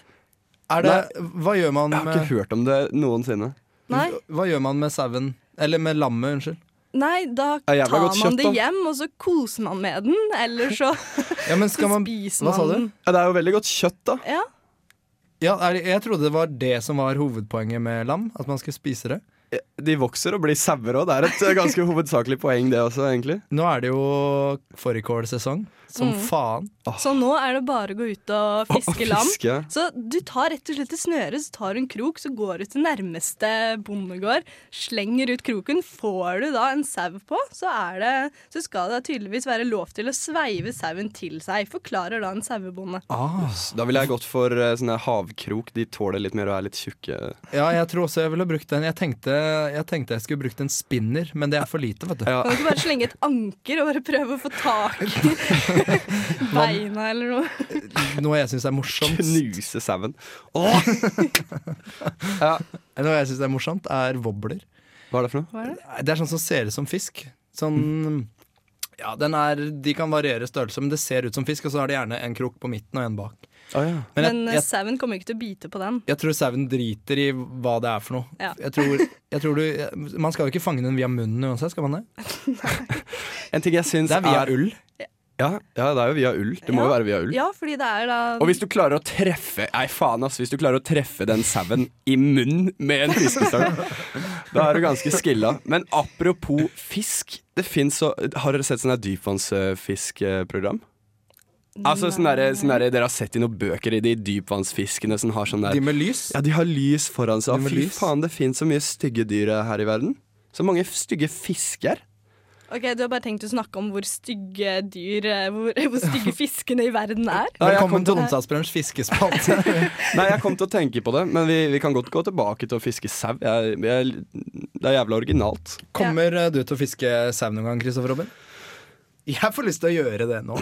D: Er det, hva gjør man
E: Jeg har ikke
D: med,
E: hørt om det noensinne.
F: Nei,
D: hva gjør man med sauen? Eller med lammet, unnskyld.
F: nei da
E: Ja, jævla
F: tar man
E: godt kjøtt,
F: det
E: da.
F: hjem, og så koser man med den. Eller så
D: Ja, men skal man
F: spiser
D: Hva
F: man
D: sa du?
F: den.
E: Ja, det er jo veldig godt kjøtt, da.
F: Ja.
D: Ja, er det, jeg trodde det var det som var hovedpoenget med lam. At man skulle spise det.
E: De vokser og blir sauer òg. Det er et eh, ganske hovedsakelig poeng, det også, egentlig.
D: Nå er det jo fårikålsesong. Som faen.
F: Så nå er det bare å gå ut og
E: Å
F: fiske lam.
E: Fiske.
F: Så du tar rett og slett et snøre, så tar du en krok, så går du til nærmeste bondegård, slenger ut kroken. Får du da en sau på, så, er det, så skal det tydeligvis være lov til å sveive sauen til seg, forklarer da en sauebonde.
D: Ah.
E: Da ville jeg gått for eh, sånne havkrok. De tåler litt mer og er litt tjukke.
D: Ja, jeg tror også jeg ville brukt den. Jeg tenkte jeg, tenkte jeg skulle brukt en spinner, men det er for lite, vet du.
E: Ja.
F: Kan du ikke bare slenge et anker og bare prøve å få tak i beina eller noe?
D: Noe jeg syns er morsomt,
E: Knuse sauen.
D: Noe jeg synes er morsomt, er wobbler.
E: Hva er det for noe?
F: Hva er det?
D: Det er sånn som ser ut som fisk. Sånn Ja, den er De kan variere størrelse, men det ser ut som fisk, og så har de gjerne en krok på midten og en bak.
E: Å, ja.
D: Men jeg,
F: Men eh,
D: jeg,
F: sauen kommer ikke til å bite på den.
D: jeg tror sauen driter i hva det er for noe.
F: Ja.
D: Jeg, tror, jeg tror du Man skal jo ikke fange den via munnen uansett, skal man det?
E: En ting jeg syns
D: Det er via
E: er
D: ull.
E: Ja, ja, det er jo via ull. Det må jo
F: Ja.
E: være via ull.
F: Ja, fordi det er da
E: Og hvis du klarer å treffe Nei, faen, ass. Hvis du klarer å treffe den sauen i munnen med en fiskestang, da er du ganske skilla. Men apropos fisk. Det finnes så Har dere sett sånn her dypvannsfiskprogram? Altså sånn derre sånn derre Dere har sett i noen bøker i de dypvannsfiskene som har sånn der
D: De med lys.
E: Ja, de har lys foran seg.
D: De har
E: Fy
D: lys.
E: faen, det fins så mye stygge dyr her i verden. Så mange stygge fisker.
F: Ok, Du har bare tenkt å snakke om hvor stygge dyr eh, Hvor, hvor stygge fiskene i verden er?
E: Ja, jeg
D: Velkommen
E: kom
D: til Onsdagsbrunsj fiskespalte.
E: Nei, jeg kom til å tenke på det, men vi, vi kan godt gå tilbake til å fiske sau. Jeg, jeg, det er jævla originalt.
D: Kommer eh, du til å fiske sau noen gang, Kristoffer Robin? Jeg får lyst til å gjøre det nå.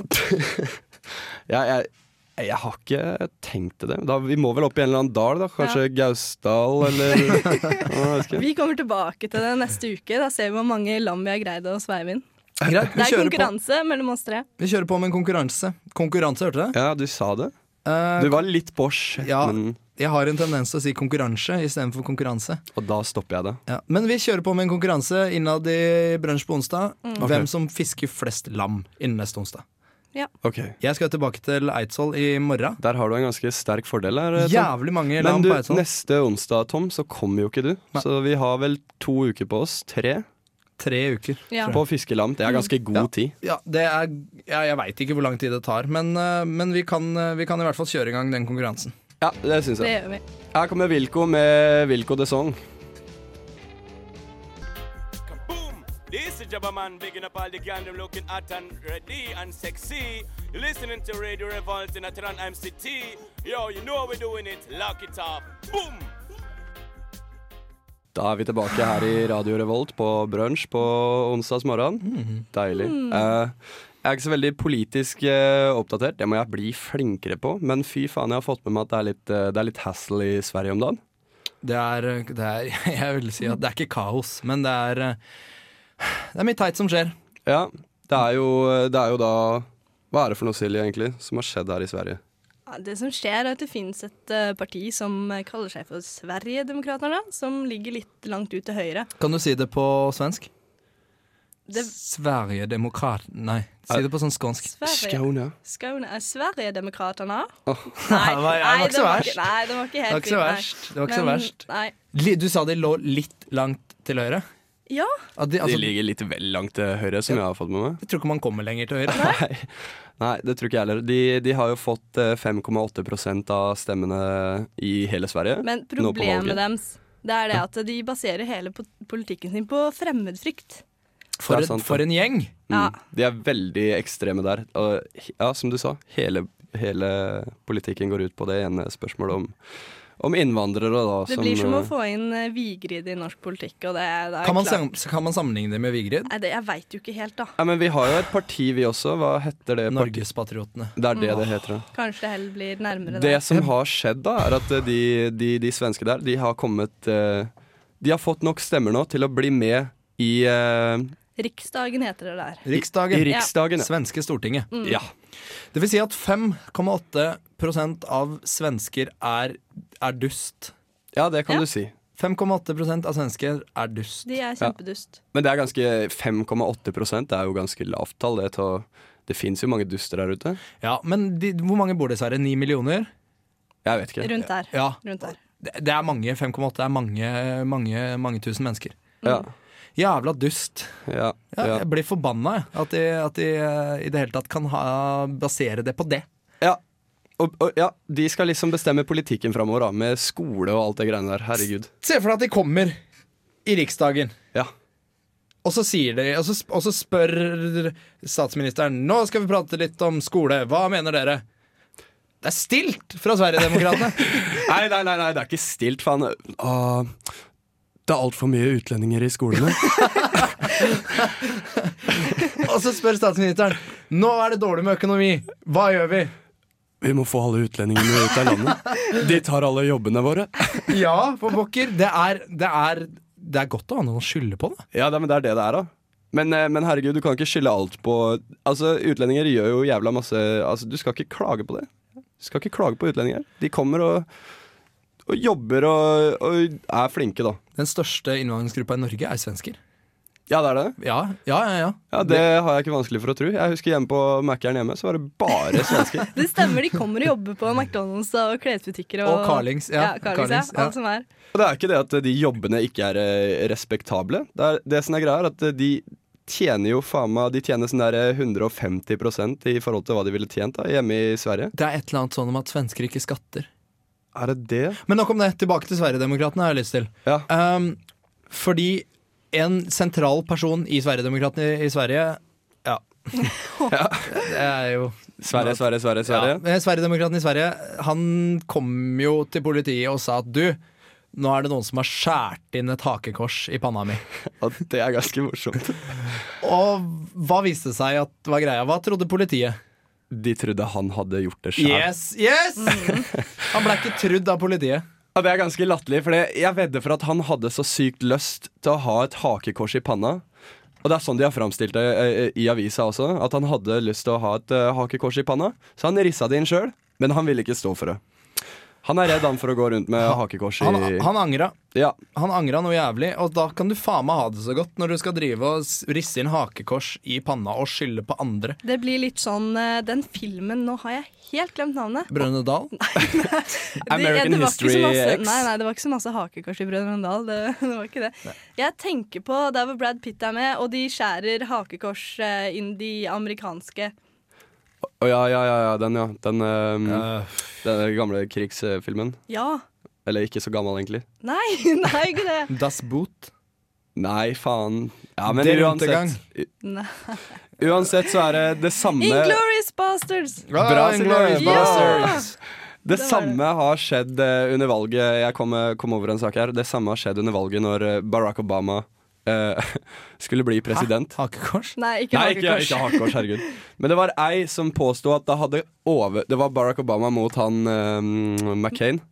E: Jeg, jeg, jeg har ikke tenkt til det. Da, vi må vel opp i en eller annen dal, da. Kanskje Gausdal, eller ja, jeg vet ikke.
F: Vi kommer tilbake til det neste uke. Da ser vi hvor mange lam vi har greid å sveive inn.
D: Greit,
F: Det
D: vi
F: er
D: kjører, på,
F: konkurranse mellom oss tre.
D: vi kjører på med en konkurranse. Konkurranse, hørte du det?
E: Ja, du sa det.
D: Eh,
E: Du var litt på shit,
D: Ja.
E: men
D: jeg har en tendens til å si konkurranse istedenfor konkurranse.
E: Og da stopper jeg det.
D: Ja. Men vi kjører på med en konkurranse innad i Brunsj på onsdag. Hvem som fisker flest lam innen neste onsdag.
E: Ok.
D: Jeg skal tilbake til Eidsvoll i morgen.
E: Der har du en ganske sterk fordel her, eh, Tom.
D: Jævlig mange
E: Men
D: lam
E: du,
D: på Eidsvoll.
E: neste onsdag, Tom, så kommer jo ikke du.
D: sånn. Nei.
E: Så vi har vel to uker på oss, tre,
D: Tre uker.
F: Ja.
E: på å fiske lam. Det er ganske god
D: Ja.
E: tid.
D: Ja, det er, ja, jeg veit ikke hvor lang tid det tar, men, eh, men vi, kan, eh, vi kan i hvert fall kjøre i gang den konkurransen.
E: Ja, det syns
F: Det
E: jeg.
F: gjør vi.
E: Her kommer Wilco med Wilco de Song.
J: Boom! This is Jabba Man bigging up all the gang them looking hot and ready and sexy. You're listening to Radio Revolt in Atran MCT. Yo, you know how we're doing it. Lock it up. Boom!
E: Da er vi tilbake her i Radio Revolt på brunsj på onsdags morgen.
D: Mhm.
E: Deilig. Eh, jeg er ikke så veldig politisk eh, oppdatert, det må jeg bli flinkere på. Men fy faen, jeg har fått med meg at det er litt, eh, det er litt hassle i Sverige om dagen.
D: Det er, eh, det er Jeg vil si at det er ikke kaos, men det er eh, Det er mye teit som skjer.
E: Ja, det er jo, eh, det er jo da Hva er det for noe, Silje, egentlig, som har skjedd her i Sverige?
F: Ja, Det som skjer, er at det finnes et eh, parti som eh, kaller seg for Sverigedemokraterna, som ligger litt langt ut til høyre.
D: Kan du si det på svensk?
F: Det,
D: Sverigedemokrat... Nei, si det på sånn skånsk.
F: Sverige,
E: Skåne.
F: Skåne er Sverigedemokraterna.
D: Nei, det var- det var ikke så
F: den
D: verst.
F: nei, den var ikke
D: Det var
F: helt
D: ikke så
F: fin, nei.
D: verst. Det var ikke så
F: Men-
D: verst.
F: Nei.
D: Li- Du sa de lå litt langt til høyre?
F: Ja,
D: At de,
E: De
D: altså,
E: ligger litt vel langt til høyre, som jeg har fått med meg.
D: jeg tror ikke man kommer lenger til høyre.
E: Nei, Nei det tror ikke jeg heller. De, de har jo fått eh, 5,8 av stemmene i hele Sverige.
F: men
E: Nå på valget.
F: problemet deres det er det at de baserer hele po- politikken sin på fremmedfrykt.
D: For,
E: Det er
D: en,
E: sant,
D: for
E: det.
D: en gjeng!
F: Ja.
E: Mm. De er veldig ekstreme der. Og, ja, som du sa, hele, hele politikken går ut på det ene spørsmålet om, om innvandrere. Da,
F: Det blir som å få inn eh, Vigrid i norsk politikk, og det, det er
D: Kan man,
F: klart-
D: sam- kan man sammenligne det med Vigrid?
F: Nei, det, jeg veit jo ikke helt, da.
E: ja, men Vi har jo et parti, vi også. Hva heter det? partiet?
D: Norgespatriotene.
E: Det
F: Mm.
E: er det det heter. da.
F: Kanskje det heller blir nærmere
E: Det som har skjedd, da, er at eh, de, de, de svenske der, de har kommet eh, De har fått nok stemmer nå til å bli med i, eh,
F: der. Riksdagen heter det der.
E: i
D: Riksdagen.
E: Riksdagen. Ja.
D: Svenske Stortinget.
F: Mm.
E: Ja.
D: Det vil si at 5,8 av svensker er, er dust.
E: ja, det kan
F: Ja.
E: du si.
D: 5,8 av svensker er dust.
F: De er kjempedust.
E: Men det er ganske 5,8 det er jo ganske lavt tall. Det, tar- det fins jo mange duster der ute.
D: Ja, Men de, hvor mange bor det, Sverre? 9 millioner?
E: Jeg vet ikke.
F: Rundt der.
D: Ja.
F: Rundt der.
D: Det, det er mange. 5,8 er mange, mange, mange tusen mennesker.
E: Ja,
D: Jævla dust.
E: ja,
D: Ja,
E: ja.
D: Jeg blir forbanna, jeg. At de, at de eh, i det hele tatt kan ha, basere det på det.
E: ja. Og, og, ja, de skal liksom bestemme politikken framover, da, med skole og alt det greiene der. Herregud.
D: Se for deg at de kommer i Riksdagen.
E: Ja.
D: Og så, sier de, og, så, sp- og så spør statsministeren Nå skal vi prate litt om skole. Hva mener dere? Det er stilt fra Sverigedemokraterna!
E: Nei, nei, nei, nei, det er ikke stilt, faen. Åh, det er altfor mye utlendinger i skolene.
D: og så spør statsministeren Nå er det dårlig med økonomi. Hva gjør vi?
E: Vi må få alle utlendingene ut av landet. De tar alle jobbene våre.
D: Ja, for pokker. Det er, det er det er godt å ha noen å skylde på, da.
E: Ja, da, men det er det det er, da. Men, eh, men herregud, du kan ikke skylde alt på Altså, Utlendinger gjør jo jævla masse Altså, Du skal ikke klage på det. Du skal ikke klage på utlendinger. De kommer og, og jobber og, og er flinke, da.
D: Den største innvandringsgruppa i Norge er svensker.
E: Ja, det er det.
D: Ja, ja, ja. ja.
E: Ja, Det har jeg ikke vanskelig for å tro. Jeg husker hjemme på Mækkern hjemme, så var det bare svensker.
F: Det stemmer, de kommer og jobber på McDonald's og klesbutikker og,
D: Og Carlings, ja.
F: Ja,
D: Carlings, ja.
F: Carlings, ja. Alt som er.
E: Og det er ikke det at de jobbene ikke er eh, respektable. Det, er, det som er greia, er at eh, de tjener jo faen meg De tjener sånn der eh, 150 i forhold til hva de ville tjent da, hjemme i Sverige.
D: Det er et eller annet sånn om at svensker ikke skatter.
E: Er det det?
D: Men nok om det. Tilbake til Sverigedemokraterna har jeg lyst til.
E: Ja.
D: Ehm, fordi en sentral person i Sverigedemokraterna i, i Sverige Ja. Det er jo
E: Sverige, Sverige, Sverige. Sverige.
D: ja. men Sverigedemokraten i Sverige Han kom jo til politiet og sa at du, nå er det noen som har skåret inn et hakekors i panna mi.
E: Og det er ganske morsomt.
D: Og hva viste det seg at var greia? Hva trodde politiet?
E: De trodde han hadde gjort det sjøl.
D: Yes! Yes! Han ble ikke trudd av politiet.
E: Og det er ganske latterlig, for det- jeg vedder for at han hadde så sykt lyst til å ha et hakekors i panna. Og det er sånn de har framstilt det eh, i avisa også, at han hadde lyst til å ha et eh, hakekors i panna. Så han rissa det inn sjøl, men han ville ikke stå for det. Han er redd han for å gå rundt med hakekors i
D: Han, han angra.
E: Ja,
D: Han angra noe jævlig, og da kan du faen meg ha det så godt når du skal drive og s- risse inn hakekors i panna og skylde på andre.
F: Det blir litt sånn eh, Den filmen, nå har jeg helt glemt navnet.
D: Brønne Dal?
F: Det-
E: American
F: det var ikke så
E: History
F: masse,
E: X.
F: Nei, nei, det var ikke så masse hakekors i Brødrene Dal. Det, det var ikke det. Jeg tenker på der hvor Brad Pitt er med, og de skjærer hakekors eh, inn de amerikanske.
E: Å, ja, ja, ja, ja, den, ja. Den, eh, den gamle krigsfilmen.
F: Ja.
E: Eller ikke så gammel, egentlig.
F: Nei, nei, ikke det.
D: Das Boot?
E: Nei, faen. Ja, men
D: Det er
E: uansett,
D: undergang.
F: Nei.
E: uansett så er det det samme
F: Inglorious Bastards!
E: Bra, Silje.
D: Inglourious
F: Ja!
D: Basterds.
E: Det
F: Det var
E: samme har skjedd eh, under valget Jeg kom, eh, kom over en sak her Det samme har skjedd under valget når eh, Barack Obama eh, skulle bli president
D: Hakekors?
F: Nei, ikke
E: Nei, ikke,
F: hakekors.
E: ikke hakekors, herregud Men det var ei som påstod at det hadde over Det var Barack Obama mot han eh, McCain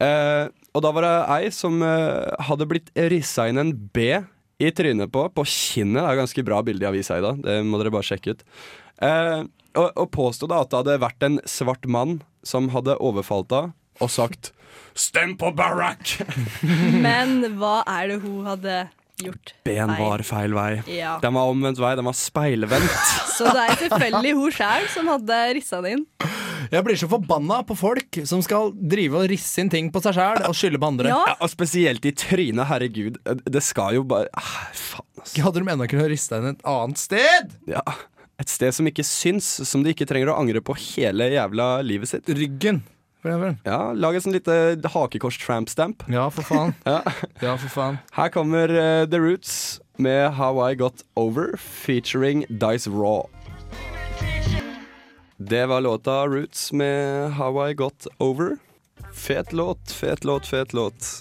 E: Eh, Og da var det ei som eh, hadde blitt rissa inn en B i trynet på På kinnet, det er ganske bra bilde i avisa i dag Det må dere bare sjekke ut Eh, og, og påstod da at det hadde vært en svart mann Som hadde overfalt henne og sagt Stem på Barack!
F: Men hva er det hun hadde gjort?
E: Ben
F: feil?
E: var feil vei
F: Ja.
E: Den var omvendt vei, den var speilvendt
F: Så det er selvfølgelig hun sjæl som hadde rissa det inn.
D: Jeg blir så forbanna på folk som skal drive og risse inn ting på seg sjæl og skylde på andre.
F: Ja,
E: Ja, og spesielt i trynet, herregud. Det skal jo bare ah, Faen, altså.
D: Hadde de ennå kunnet riste henne et annet sted?
E: Ja. Et sted som ikke syns, som de ikke trenger å angre på hele jævla livet sitt.
D: Ryggen, for eksempel.
E: Ja, Lag et sånn lite hakekors-tramp-stamp.
D: Ja, for faen.
E: Ja.
D: Ja, for faen.
E: Her kommer eh, The Roots med How I Got Over featuring Dice Raw. Det var låta Roots med How I Got Over. Fet låt, fet låt, fet låt.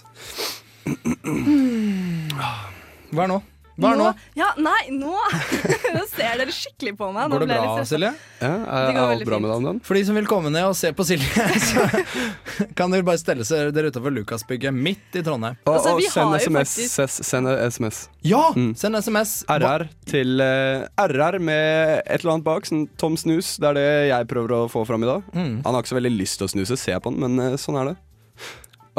D: Hva er nå? Hva er nå?
F: Ja, nei, nå Nå ser dere skikkelig på meg. Nå
D: Går det
F: ble
D: bra,
F: jeg litt stresset.
D: Silje?
E: Ja, er,
F: Det
E: er
F: går
E: alt
F: veldig
E: bra med
F: fint.
E: deg om dagen?
D: For de som vil komme ned og se på Silje, så kan dere bare stelle seg dere utafor Lukasbygget midt i Trondheim.
E: Og,
F: Altså,
E: og
F: vi
E: send
F: har jo
E: SMS.
F: faktisk-
E: ses- Send SMS.
D: Ja! Mm. Send SMS.
E: RR til eh, RR med et eller annet bak. Sånn tom snus. Det er det jeg prøver å få fram i dag. Han har ikke så veldig lyst til å snuse, ser jeg på han, men eh, sånn er det.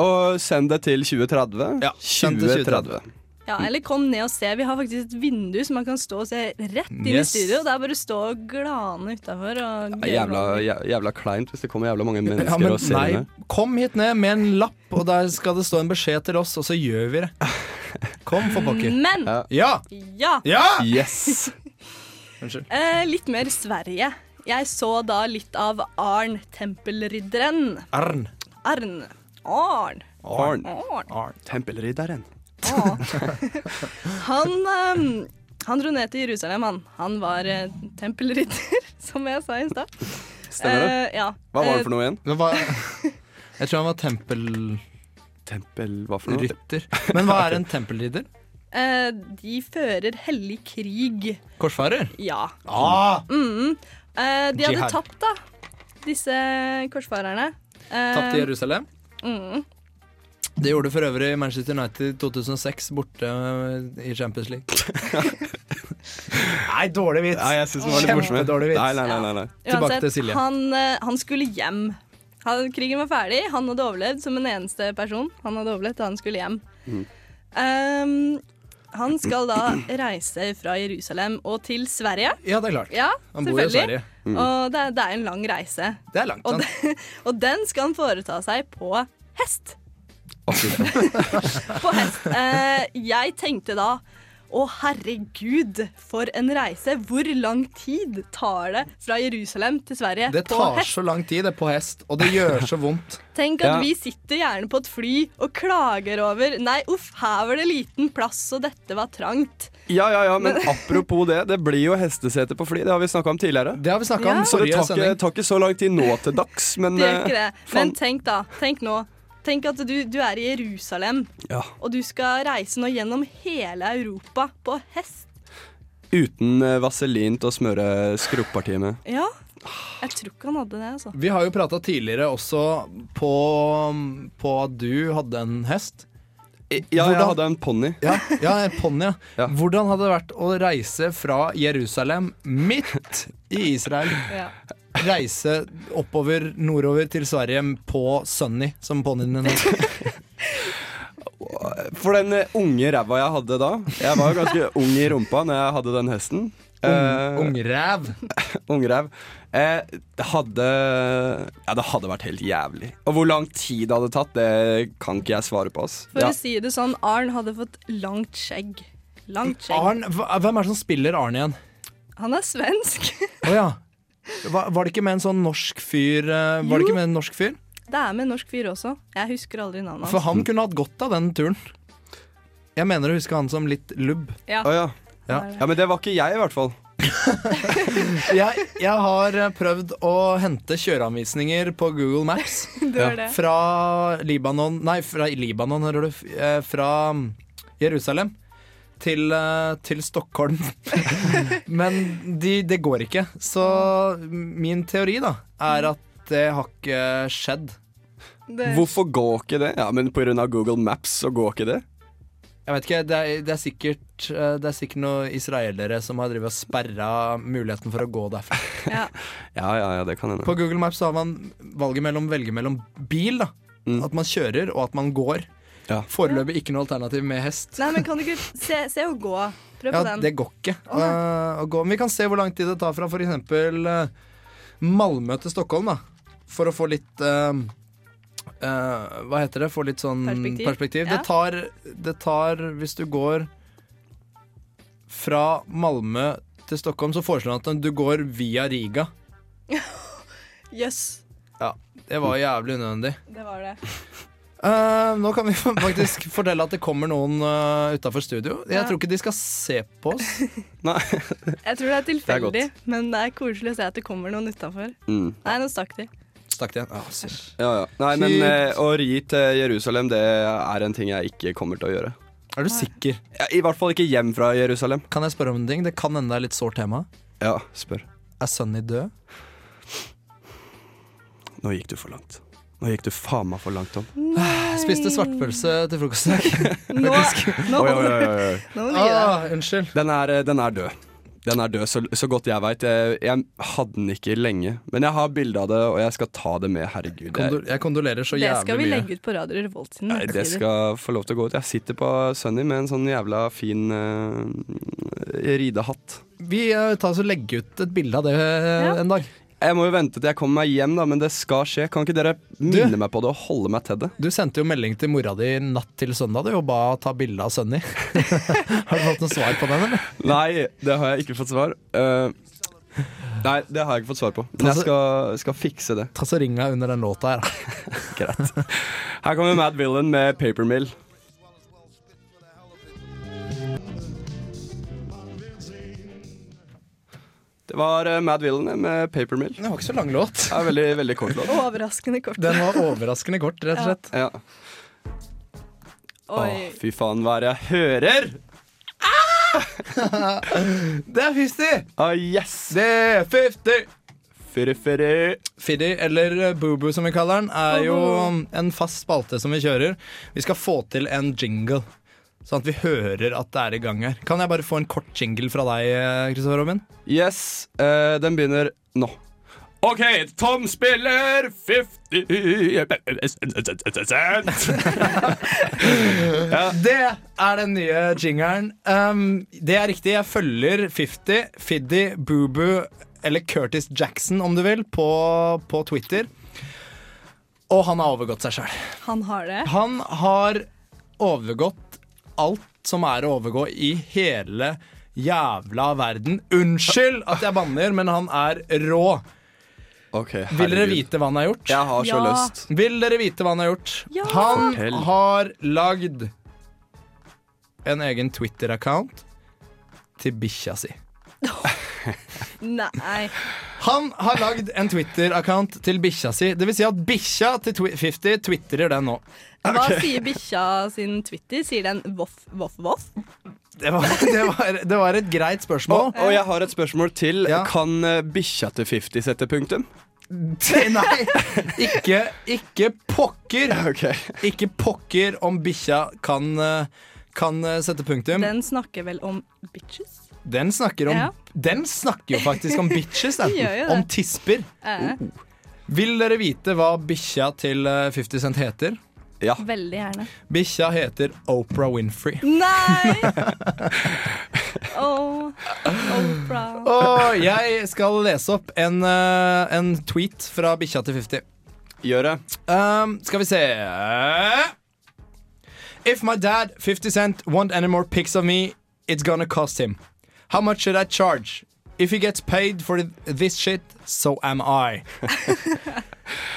E: Og send det til 2030.
D: Ja, send til
E: 2030.
F: Ja, eller kom ned og se. Vi har faktisk et vindu som man kan stå og se rett inn
D: Yes.
F: i studio. Det er bare å stå og glane utafor.
E: Ja, jævla, jæ- jævla kleint hvis det kommer jævla mange mennesker
D: Ja, men
E: og ser
D: nei,
E: inne.
D: kom hit ned med en lapp, og der skal det stå en beskjed til oss, og så gjør vi det. Kom, for pokker.
F: Men
E: Ja.
D: Ja!
F: ja,
D: Ja!
E: Yes!
F: eh, litt mer Sverige. Jeg så da litt av Arn, tempelridderen.
D: Arn.
F: Arn. Arn.
E: Arn.
F: Arn.
E: Tempelridderen.
F: Å. han, ehm, han dro ned til Jerusalem, han. Han var eh, tempelridder, som jeg sa i stad.
E: Stemmer det?
F: Eh, ja.
E: Hva var det for noe igjen?
D: Det var, jeg tror han var tempelrytter.
E: Tempel, hva for noe?
D: Men hva er en tempelridder?
F: Eh, de fører hellig krig.
D: Korsfarer?
F: Ja.
D: Ah,
F: Eh, de hadde
D: Jihad.
F: tapt, da, disse korsfarerne. Eh, mm.
D: Tapt i Jerusalem? Det gjorde for øvrig Manchester United 2006 borte eh, i Champions League. Nei, dårlig vits.
E: Nei, jeg syns det var litt morsomt.
D: Kjempedårlig vits.
E: Nei, nei, nei, nei, nei.
D: Tilbake til
F: uansett,
D: Silje.
F: Han, eh, han skulle hjem. Han, krigen var ferdig, han hadde overlevd som en eneste person. Han hadde overlevd, og han skulle hjem.
D: Mm.
F: Ehm, han skal da reise fra Jerusalem og til Sverige.
D: Ja, det er klart.
F: Ja,
D: Han bor jo i Sverige.
F: selvfølgelig.
D: Mm.
F: Og det, er- det er en lang reise.
D: Det er langt.
F: Og,
D: Sant?
F: det, og den skal han foreta seg på hest.
E: Å, fy faen.
F: på hest. Eh, jeg tenkte da å herregud, for en reise! Hvor lang tid tar det fra Jerusalem til Sverige
D: Det
F: på
D: tar
F: hest?
D: så lang tid, det er på hest, og det gjør så vondt.
F: Tenk at
E: Ja.
F: vi sitter gjerne på et fly og klager over Nei, uff, her var det liten plass, og dette var trangt.
E: Ja, ja, ja, men apropos det. Det blir jo hestesete på fly, det har vi snakka om tidligere.
D: Det har vi snakka
F: Ja.
D: om i
E: Så det
D: forrige
E: tar ikke,
D: sending.
E: tar ikke så lang tid nå til dags,
F: Det
E: men
F: gjør ikke
E: eh,
F: det.
E: faen.
F: Men tenk da. Tenk nå. Tenk at du, du er i Jerusalem,
E: ja.
F: og du skal reise nå gjennom hele Europa på hest.
E: Uten eh, vaselin til å smøre skrukkpartiet med.
F: Ja. Jeg tror ikke han hadde det, altså.
D: Vi har jo prata tidligere også på, på at du hadde en hest.
E: Ja, jeg
D: Hvordan-
E: hadde en ponni.
D: Ja, ja en ponni. Ja.
E: Ja.
D: Hvordan hadde det vært å reise fra Jerusalem, midt i Israel,
F: Ja.
D: reise oppover nordover til Sverige på Sunny, som ponnien din het?
E: For den eh, unge ræva jeg hadde da Jeg var jo ganske ung i rumpa når jeg hadde den hesten. Eh,
D: Ungræv.
E: Ungrev. Eh, det hadde Ja, det hadde vært helt jævlig. Og hvor lang tid det hadde tatt, det kan ikke jeg svare på. ass.
F: For
E: Ja.
F: å si det sånn, Arn hadde fått langt skjegg. Langt skjegg.
D: Arn, hva- hvem er det som spiller Arn igjen?
F: Han er svensk.
D: Å ja. Var, var det ikke med en sånn norsk fyr eh, Var det
F: Jo.
D: ikke med en norsk fyr?
F: Det er med en norsk fyr også. Jeg husker aldri navnet
D: For
F: hans.
D: han kunne hatt godt av den turen. Jeg mener å huske han som litt lubb.
F: Ja,
E: Å, ja.
D: Ja.
F: det er det.
E: ja, men det var ikke jeg, i hvert fall.
D: Jeg, jeg har eh, prøvd å hente kjøreanvisninger på Google Maps.
F: Du har det.
D: Fra Libanon Nei, fra Libanon, hører du. f- eh, Fra mm, Jerusalem til, eh, til Stockholm. Men de, det går ikke. Så min teori da er at det har ikke skjedd.
F: det.
E: Hvorfor går ikke det? Ja, men Pga. Google Maps så går ikke det?
D: Jeg vet ikke, Det er, det er sikkert eh, Det er sikkert noen israelere som har drevet og sperra muligheten for å gå derfra.
F: Ja.
E: Ja, ja, ja, det kan hende.
D: På Google Maps så har man valget mellom velge mellom bil, da.
E: Mm.
D: At man kjører, og at man går.
E: Ja.
D: Foreløpig ikke noe alternativ med hest.
F: Nei, men kan du ikke se, se og gå? Prøv
D: Ja,
F: på den.
D: det går ikke eh, å gå. Men vi kan se hvor lang tid det tar fra f.eks. Uh, Malmö til Stockholm, da. For å få litt eh, eh, Hva heter det? Få litt sånn
F: Perspektiv.
D: perspektiv.
F: Ja.
D: Det, tar, det tar Hvis du går fra Malmö til Stockholm, så foreslår han at du går via Riga.
F: Jøss.
D: Det var jævlig unødvendig.
F: Det var det.
D: Eh, nå kan vi faktisk fortelle at det kommer noen uh, utafor studio. Jeg
F: Ja.
D: tror ikke de skal se på oss.
E: Nei.
F: Jeg tror det er tilfeldig,
E: Det er
F: men det er koselig å se at det kommer noen utafor.
E: Mm.
F: Nei, nå stakk de.
D: Stakk de igjen. Ah, synd.
E: Ja, ja. Nei, men eh, å ri til Jerusalem, det er en ting jeg ikke kommer til å gjøre.
D: er du sikker?
E: Ja, I hvert fall ikke hjem fra Jerusalem.
D: Kan jeg spørre om en ting? Det kan hende det er litt sårt tema.
E: Ja, spør.
D: Er Sunny død?
E: Nå gikk du for langt. Nå gikk du faen meg for langt, Tom.
D: Jeg spiste svartpølse til frokost i dag.
F: Nå, nå,
E: Oi,
F: nå,
E: oi, oi, oi.
F: må du gi deg.
D: Ah, unnskyld.
E: Den, er, eh, den er død. Den er død, så, så godt jeg veit. Jeg, jeg hadde den ikke lenge. Men jeg har bilde av det, og jeg skal ta det med. Herregud. Jeg,
D: Kondol jeg kondolerer så
F: Det
D: jævlig
F: skal vi
D: mye.
F: legge ut på Radio Revolt sine
E: Nei, det
F: nettsider.
E: skal få lov til å gå ut. Jeg sitter på Sunny med en sånn jævla fin eh, ridehatt.
D: Vi eh, tar oss og legger ut et bilde av det eh,
F: Ja.
D: en dag.
E: Jeg må jo vente til jeg kommer meg hjem, da, men det skal skje. Kan ikke dere minne meg på det og holde meg til det?
D: Du sendte jo melding til mora di natt til søndag du, og ba ta bilde av Sunny. har du fått noe svar på den, eller?
E: Nei, det har jeg ikke fått svar. Eh, nei, det har jeg ikke fått svar på. Men jeg skal, skal fikse det.
D: Ta så Ring henne under den låta her. da.
E: Greit. Her kommer Mad Villain med Paper Mill. Det var eh, Mad Villain med Paper Mill.
D: Det var ikke så lang låt.
E: Det er veldig, veldig kort låt.
F: Overraskende kort.
D: Den var overraskende kort, rett og
F: Ja.
D: slett.
E: Ja. Å,
F: Oi.
E: fy faen, hva er det jeg hører?
D: Det er Fifty!
E: Ah, yes!
D: Det er Fifty!
E: Fyrre, fyrre.
D: Fiddy, eller Boobo som vi kaller den, er jo en fast spalte som vi kjører. Vi skal få til en jingle, sånn at vi hører at det er i gang her. Kan jeg bare få en kort jingle fra deg, Kristoffer Robin?
E: Yes, eh, den begynner nå. OK, Tom spiller 50
D: Det er den nye jingeren. Um, det er riktig. Jeg følger 50, Fiddy, Boobo eller Curtis Jackson, om du vil, på, på Twitter. Og han har overgått seg sjøl.
F: Han har det.
D: Han har overgått alt som er å overgå i hele jævla verden. Unnskyld at jeg banner, men han er rå.
E: Ok,
D: Vil dere
E: herregud.
D: vite hva han har gjort?
E: Jeg har
F: Ja.
E: så lyst.
D: Vil dere vite hva han har gjort?
F: Ja.
D: Han
E: Fortell.
D: har lagd en egen Twitter-account til bikkja si.
F: Nei.
D: Han har lagd en Twitter-account til bikkja si. Det vil si at bikkja til Twi- 50 twitterer den nå.
F: Hva sier bikkja sin Twitter? Sier den voff, voff, voff?
D: Det var, det var, det var et greit spørsmål.
E: Og jeg har et spørsmål til.
D: Ja.
E: Kan eh, bikkja til 50 sette punktum?
D: Nei, ikke, ikke pokker.
E: Ok
D: Ikke pokker om bikkja kan, eh, kan eh, sette punktum. Den,
F: Den snakker vel om bitches?
D: snakker om
F: Ja.
D: Den snakker jo faktisk om bitches, den.
F: Den gjør jo det.
D: om tisper. Oh.
F: Eh,
D: Vil dere vite hva bikkja til eh, 50 Cent heter?
E: Ja.
F: Veldig gjerne.
D: Bikkja heter Oprah Winfrey.
F: Nei! Åh, Oprah.
D: Og jeg skal lese opp en, eh, en tweet fra bikkja til 50.
E: Gjør det.
D: Um, skal vi se If my dad, 50 Cent, want any more pics of me, it's gonna cost him. How much should I charge? If he gets paid for this shit, so am I.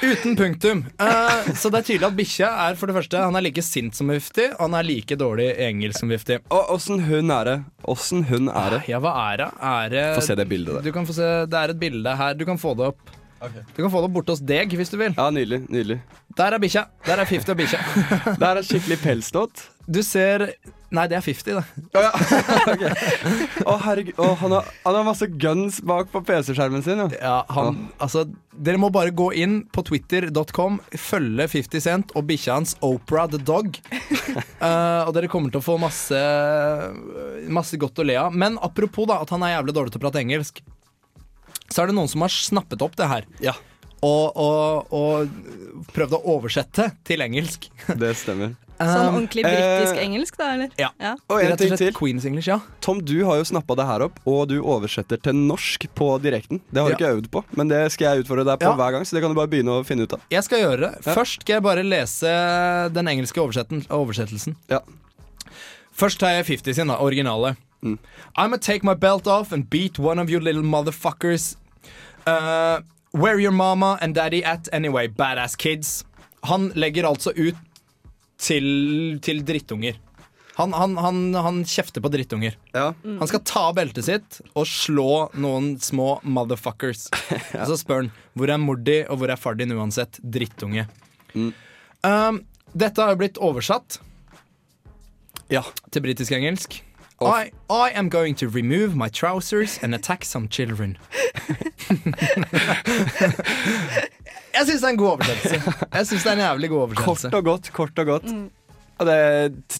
D: Uten punktum. Eh, så det er tydelig at bikkja er for det første Han er like sint som Vifti, og han er like dårlig i engelsk som Vifti.
E: Og åssen hun er det? Åssen hun er det?
D: Ja, hva er det? Er det
E: Få se det bildet der.
D: Du kan få se, det er et bilde her. Du kan få det opp. Du kan få det opp borte hos deg hvis du vil.
E: Ja, nydelig. nydelig
D: Der er bikkja. Der er Fifty og bikkja.
E: Der er en skikkelig pelsdott.
D: Du ser Nei, det er Fifty, det.
E: Å, herregud. Å, han, har, han har masse guns bak på PC-skjermen sin. Ja.
D: Ja, han, altså, dere må bare gå inn på twitter.com, følge 50 Cent og bikkja hans Opera the Dog. Eh, og dere kommer til å få masse, masse godt å le av. Men apropos da, at han er jævlig dårlig til å prate engelsk, så er det noen som har snappet opp det her.
E: Ja.
D: Og, og, og prøvd å oversette til engelsk.
E: Det stemmer.
F: Sånn ordentlig britisk
E: eh,
F: engelsk, da, eller?
D: ja.
F: ja.
E: Og en
D: Rett og
E: ting til.
D: slett Queens English, ja.
E: Tom, du har jo snappa det her opp, og du oversetter til norsk på direkten. Det har du
D: Ja.
E: ikke øvd på, men det skal jeg utfordre deg på
D: Ja.
E: hver gang. Så det kan du bare begynne å finne ut av.
D: Jeg skal gjøre det.
E: Ja.
D: Først skal jeg bare lese den engelske oversetten, oversettelsen.
E: Ja.
D: Først tar jeg 50 sin, da. Originale. I'm gonna take my belt off and beat one of you little motherfuckers. Uh, where your mama and daddy at anyway, badass kids. Han legger altså ut til, til drittunger. Han, han, han, han kjefter på drittunger.
E: Ja.
D: Han skal ta av beltet sitt og slå noen små motherfuckers. Og så spør han hvor er mor di, og hvor er far din uansett. Drittunge. Um, dette har jo blitt oversatt
E: Ja.
D: til britisk-engelsk. I, I am going to remove my trousers and attack some children. Jeg syns det er en god oversettelse. Jeg synes det er en jævlig god oversettelse
E: Kort og godt, kort og godt.
F: Mm.
E: Ja, Det,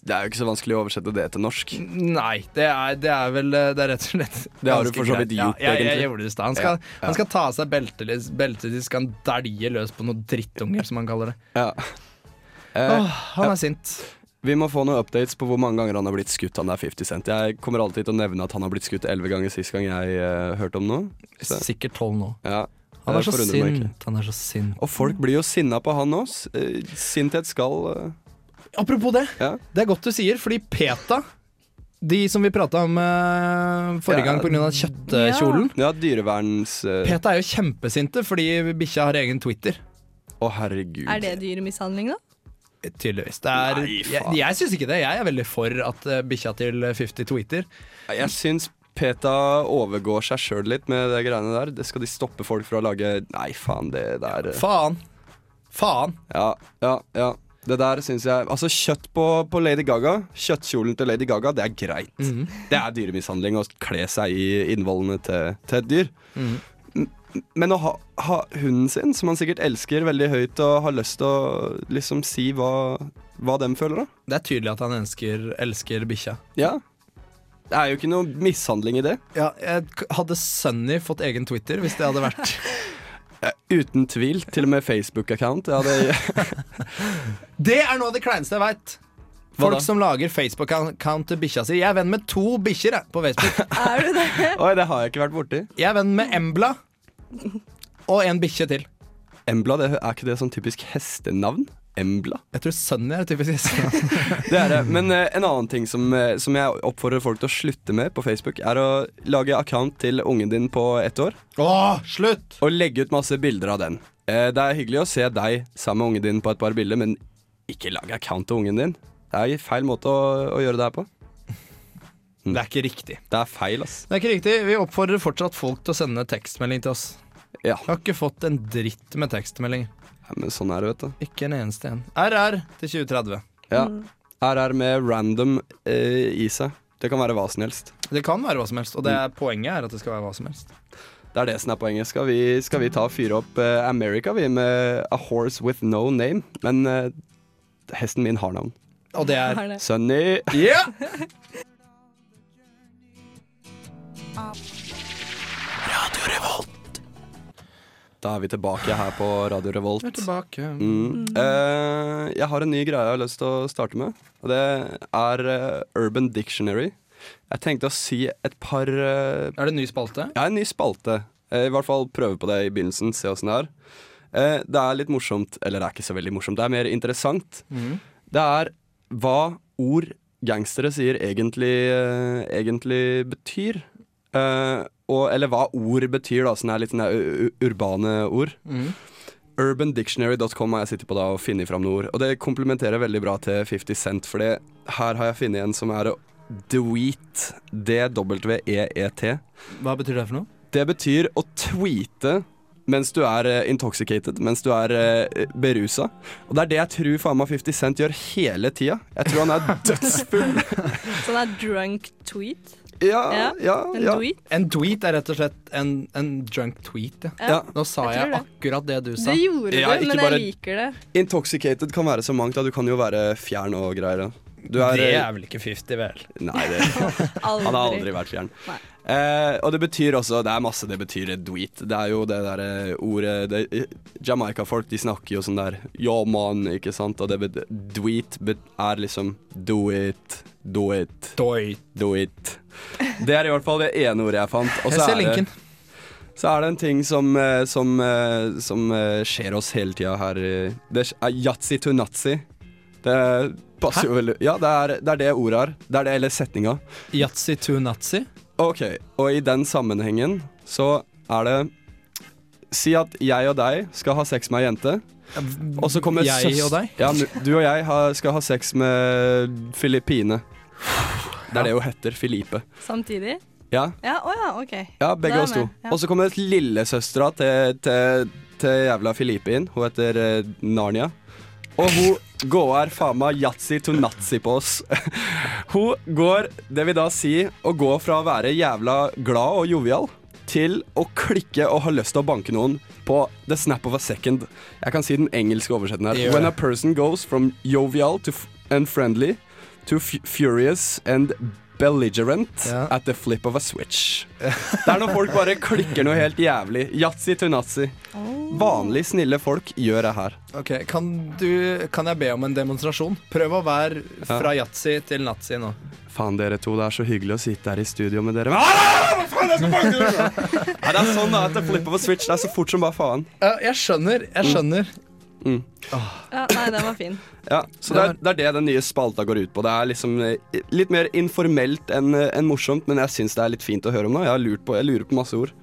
E: det er jo ikke så vanskelig å oversette det til norsk.
F: Mm.
D: Nei, det er, det er vel eh, Det er rett og slett
E: Det har du
D: ganske
E: for så vidt
D: greit.
E: gjort,
D: ja, jeg, jeg,
E: egentlig.
D: gjorde det i stad. Han, skal-
E: Ja, ja.
D: han skal ta av seg beltet, litt- beltet sitt, skal han dælje løs på noen drittunger, som han kaller det.
E: Ja. Eh,
D: Åh, han er sint.
E: Vi må få noen updates på hvor mange ganger han har blitt skutt. Han er 50 Cent. Jeg kommer alltid til å nevne at han har blitt skutt elleve ganger sist gang jeg eh, hørte om noe. Så,
D: Sikkert tolv nå.
E: ja.
D: Han
E: Det
D: er så
E: forundrer meg ikke.
D: sint. Han er så sint.
E: Og folk blir jo sinna på han òg. Sinthet skal eh,
D: Apropos det,
E: Ja.
D: det er godt du sier, fordi PETA de som vi prata om eh, forrige
E: Ja.
D: gang pga. kjøttkjolen.
E: Ja, dyreverns... eh,
D: PETA er jo kjempesinte fordi bikkja har egen Twitter.
E: Å, herregud.
F: Er det dyremishandling, da?
D: Tydeligvis. Det er,
E: Nei, faen.
D: jeg jeg syns ikke det. Jeg er veldig for at eh, bikkja til 50 tweeter.
E: Jeg syns PETA overgår seg sjøl litt med de greiene der. Det skal de stoppe folk fra å lage Nei, faen, det der eh,
D: Faen. Faen.
E: Ja, ja, ja. Det der syns jeg Altså, kjøtt på, på Lady Gaga, kjøttkjolen til Lady Gaga, det er greit. Det er dyremishandling å kle seg i innvollene til, til et dyr. M- Men å ha, ha hunden sin, som han sikkert elsker veldig høyt, og har lyst til å liksom si hva, hva dem føler, da.
D: Det er tydelig at han ønsker, elsker bikkja.
E: Ja. Det er jo ikke noe mishandling i det.
D: Ja, jeg k- hadde Sunny fått egen Twitter hvis det hadde vært
E: Uten tvil. Til og med Facebook-account. Ja, det,
D: Det er noe av det kleineste jeg veit!
E: Hva da?
D: Folk som lager Facebook-account til bikkja si. Jeg er venn med to bikkjer jeg, på Facebook.
F: Er du det?
E: oi, det har jeg ikke vært borti.
D: Jeg er venn med Embla og en bikkje til.
E: Embla, det, er ikke det sånn typisk hestenavn? Embla.
D: Jeg tror Sunny er typisk siste.
E: Det er det. Men eh, en annen ting som, eh, som jeg oppfordrer folk til å slutte med på Facebook, er å lage account til ungen din på ett år
D: Åh, slutt!
E: og legge ut masse bilder av den. Eh, det er hyggelig å se deg sammen med ungen din på et par bilder, men ikke lag account til ungen din. Det er feil måte å, å gjøre det her på.
D: Det er ikke riktig.
E: Det er feil, ass.
D: Det er ikke riktig. Vi oppfordrer fortsatt folk til å sende tekstmelding til oss.
E: Ja,
D: Jeg har ikke fått en dritt med tekstmeldinger.
E: ja, men sånn er det, vet du.
D: Ikke en eneste en. RR til 2030.
E: Ja. RR med random eh, i seg. Det kan være hva som helst.
D: Det kan være hva som helst, og det er poenget er at det skal være hva som helst.
E: Det er det som er poenget. Skal vi, skal vi ta og fyre opp eh, America, vi, med A Horse With No Name? Men eh, hesten min har navn.
D: Og det er
F: Er det?
E: Sunny.
D: Ja!
E: Da er vi tilbake her på Radio Revolt.
D: Tilbake.
E: Mm. Eh, jeg har en ny greie jeg har lyst til å starte med. Og det er eh, Urban Dictionary. Jeg tenkte å si et par
D: Er
E: eh,
D: det en ny spalte?
E: Jeg har en ny spalte. Eh, I hvert fall prøve på det i begynnelsen, se åssen det er. Eh, Det er litt morsomt, eller det er ikke så veldig morsomt, det er mer interessant. Det er hva ord gangstere sier egentlig, eh, egentlig betyr. Eh, og, eller hva ord betyr, da, sånne her litt sånne u- u- urbane ord. Urbandictionary.com har jeg sittet på da og funnet fram noen ord. Og det komplementerer veldig bra til 50 Cent, for her har jeg funnet en som er Dweet. E D-W-E-E-T.
D: Hva betyr det for noe?
E: Det betyr å tweete mens du er eh, intoxicated, mens du er eh, berusa. Og det er det jeg tror faen meg 50 Cent gjør hele tida. Jeg tror han er dødsfull.
F: Sånn er drunk tweet.
E: ja, ja,
F: Ja,
E: ja.
F: En tweet.
D: En tweet er rett og slett en, en drunk tweet. Ja.
E: Ja.
D: Nå sa
F: Jeg
D: jeg,
F: tror det.
D: akkurat det du sa.
F: Det gjorde
E: Ja,
F: du,
E: ikke
F: men
E: bare-
F: jeg liker det.
E: Intoxicated kan være så mangt. Da. Du kan jo være fjern og greier. da. Du
C: Det
E: er, eh,
C: er vel ikke 50, vel?
E: Nei, det,
F: Aldri.
E: han har aldri vært fjern.
F: Nei.
E: Eh, og det betyr også Det er masse det betyr dweet. Det er jo det derre ordet det, Jamaica-folk de snakker jo sånn der Ja, man, ikke sant? Og det bet- dweet bet- er liksom do it, do it,
D: Doit.
E: do it. Det er i hvert fall det ene ordet jeg fant. Og
D: Jeg
E: så
D: ser
E: er det,
D: linken.
E: så er det en ting som, eh, som, eh, som eh, skjer oss hele tida her. eh. Det er yatzy to nazi. Det passer jo veldig Ja, det er det, er det ordet er. Det er det, eller setninga.
D: Yatzy to nazi.
E: Ok, og i den sammenhengen så er det Si at jeg og deg skal ha sex med ei jente, og så kommer
D: Jeg
E: søs-
D: og deg?
E: Ja, nu- du og jeg har, skal ha sex med Filippine. Det er det hun heter. Filipe.
F: Samtidig.
E: Ja,
F: Ja, å ja, OK.
E: ja begge
F: Da er
E: oss
F: jeg
E: to.
F: med, ja.
E: Og så kommer lillesøstera til, til, til jævla Filipe inn. Hun heter eh, Narnia. Og hun går faen meg yatzy to nazi på oss. hun går, det vil da si, å gå fra å være jævla glad og jovial til å klikke og ha lyst til å banke noen på the snap of a second. Jeg kan si den engelske oversetten her.
D: Gjør det.
E: When a person goes from jovial to f and friendly to f furious and belligerent
D: Ja.
E: at the flip of a switch. Det er når folk bare klikker noe helt jævlig. Yatzy to nazi. Vanlig snille folk gjør det her.
D: Ok, kan, du, kan jeg be om en demonstrasjon? Prøv å være fra yatzy til nazi nå.
E: Faen, dere to, det er så hyggelig å sitte her i studio med dere. Ah, hva faen, jeg skal banke dere! Nei, det er sånn da, at det flipper på switch. Det er så fort som bare faen.
D: Ja, jeg skjønner. Jeg skjønner.
F: Ja, nei, den var fin.
E: Ja, så det er, det er det den nye spalta går ut på. Det er liksom eh, litt mer informelt enn eh, enn morsomt, men jeg syns det er litt fint å høre om nå. Jeg, har lurt på, jeg lurer på masse ord.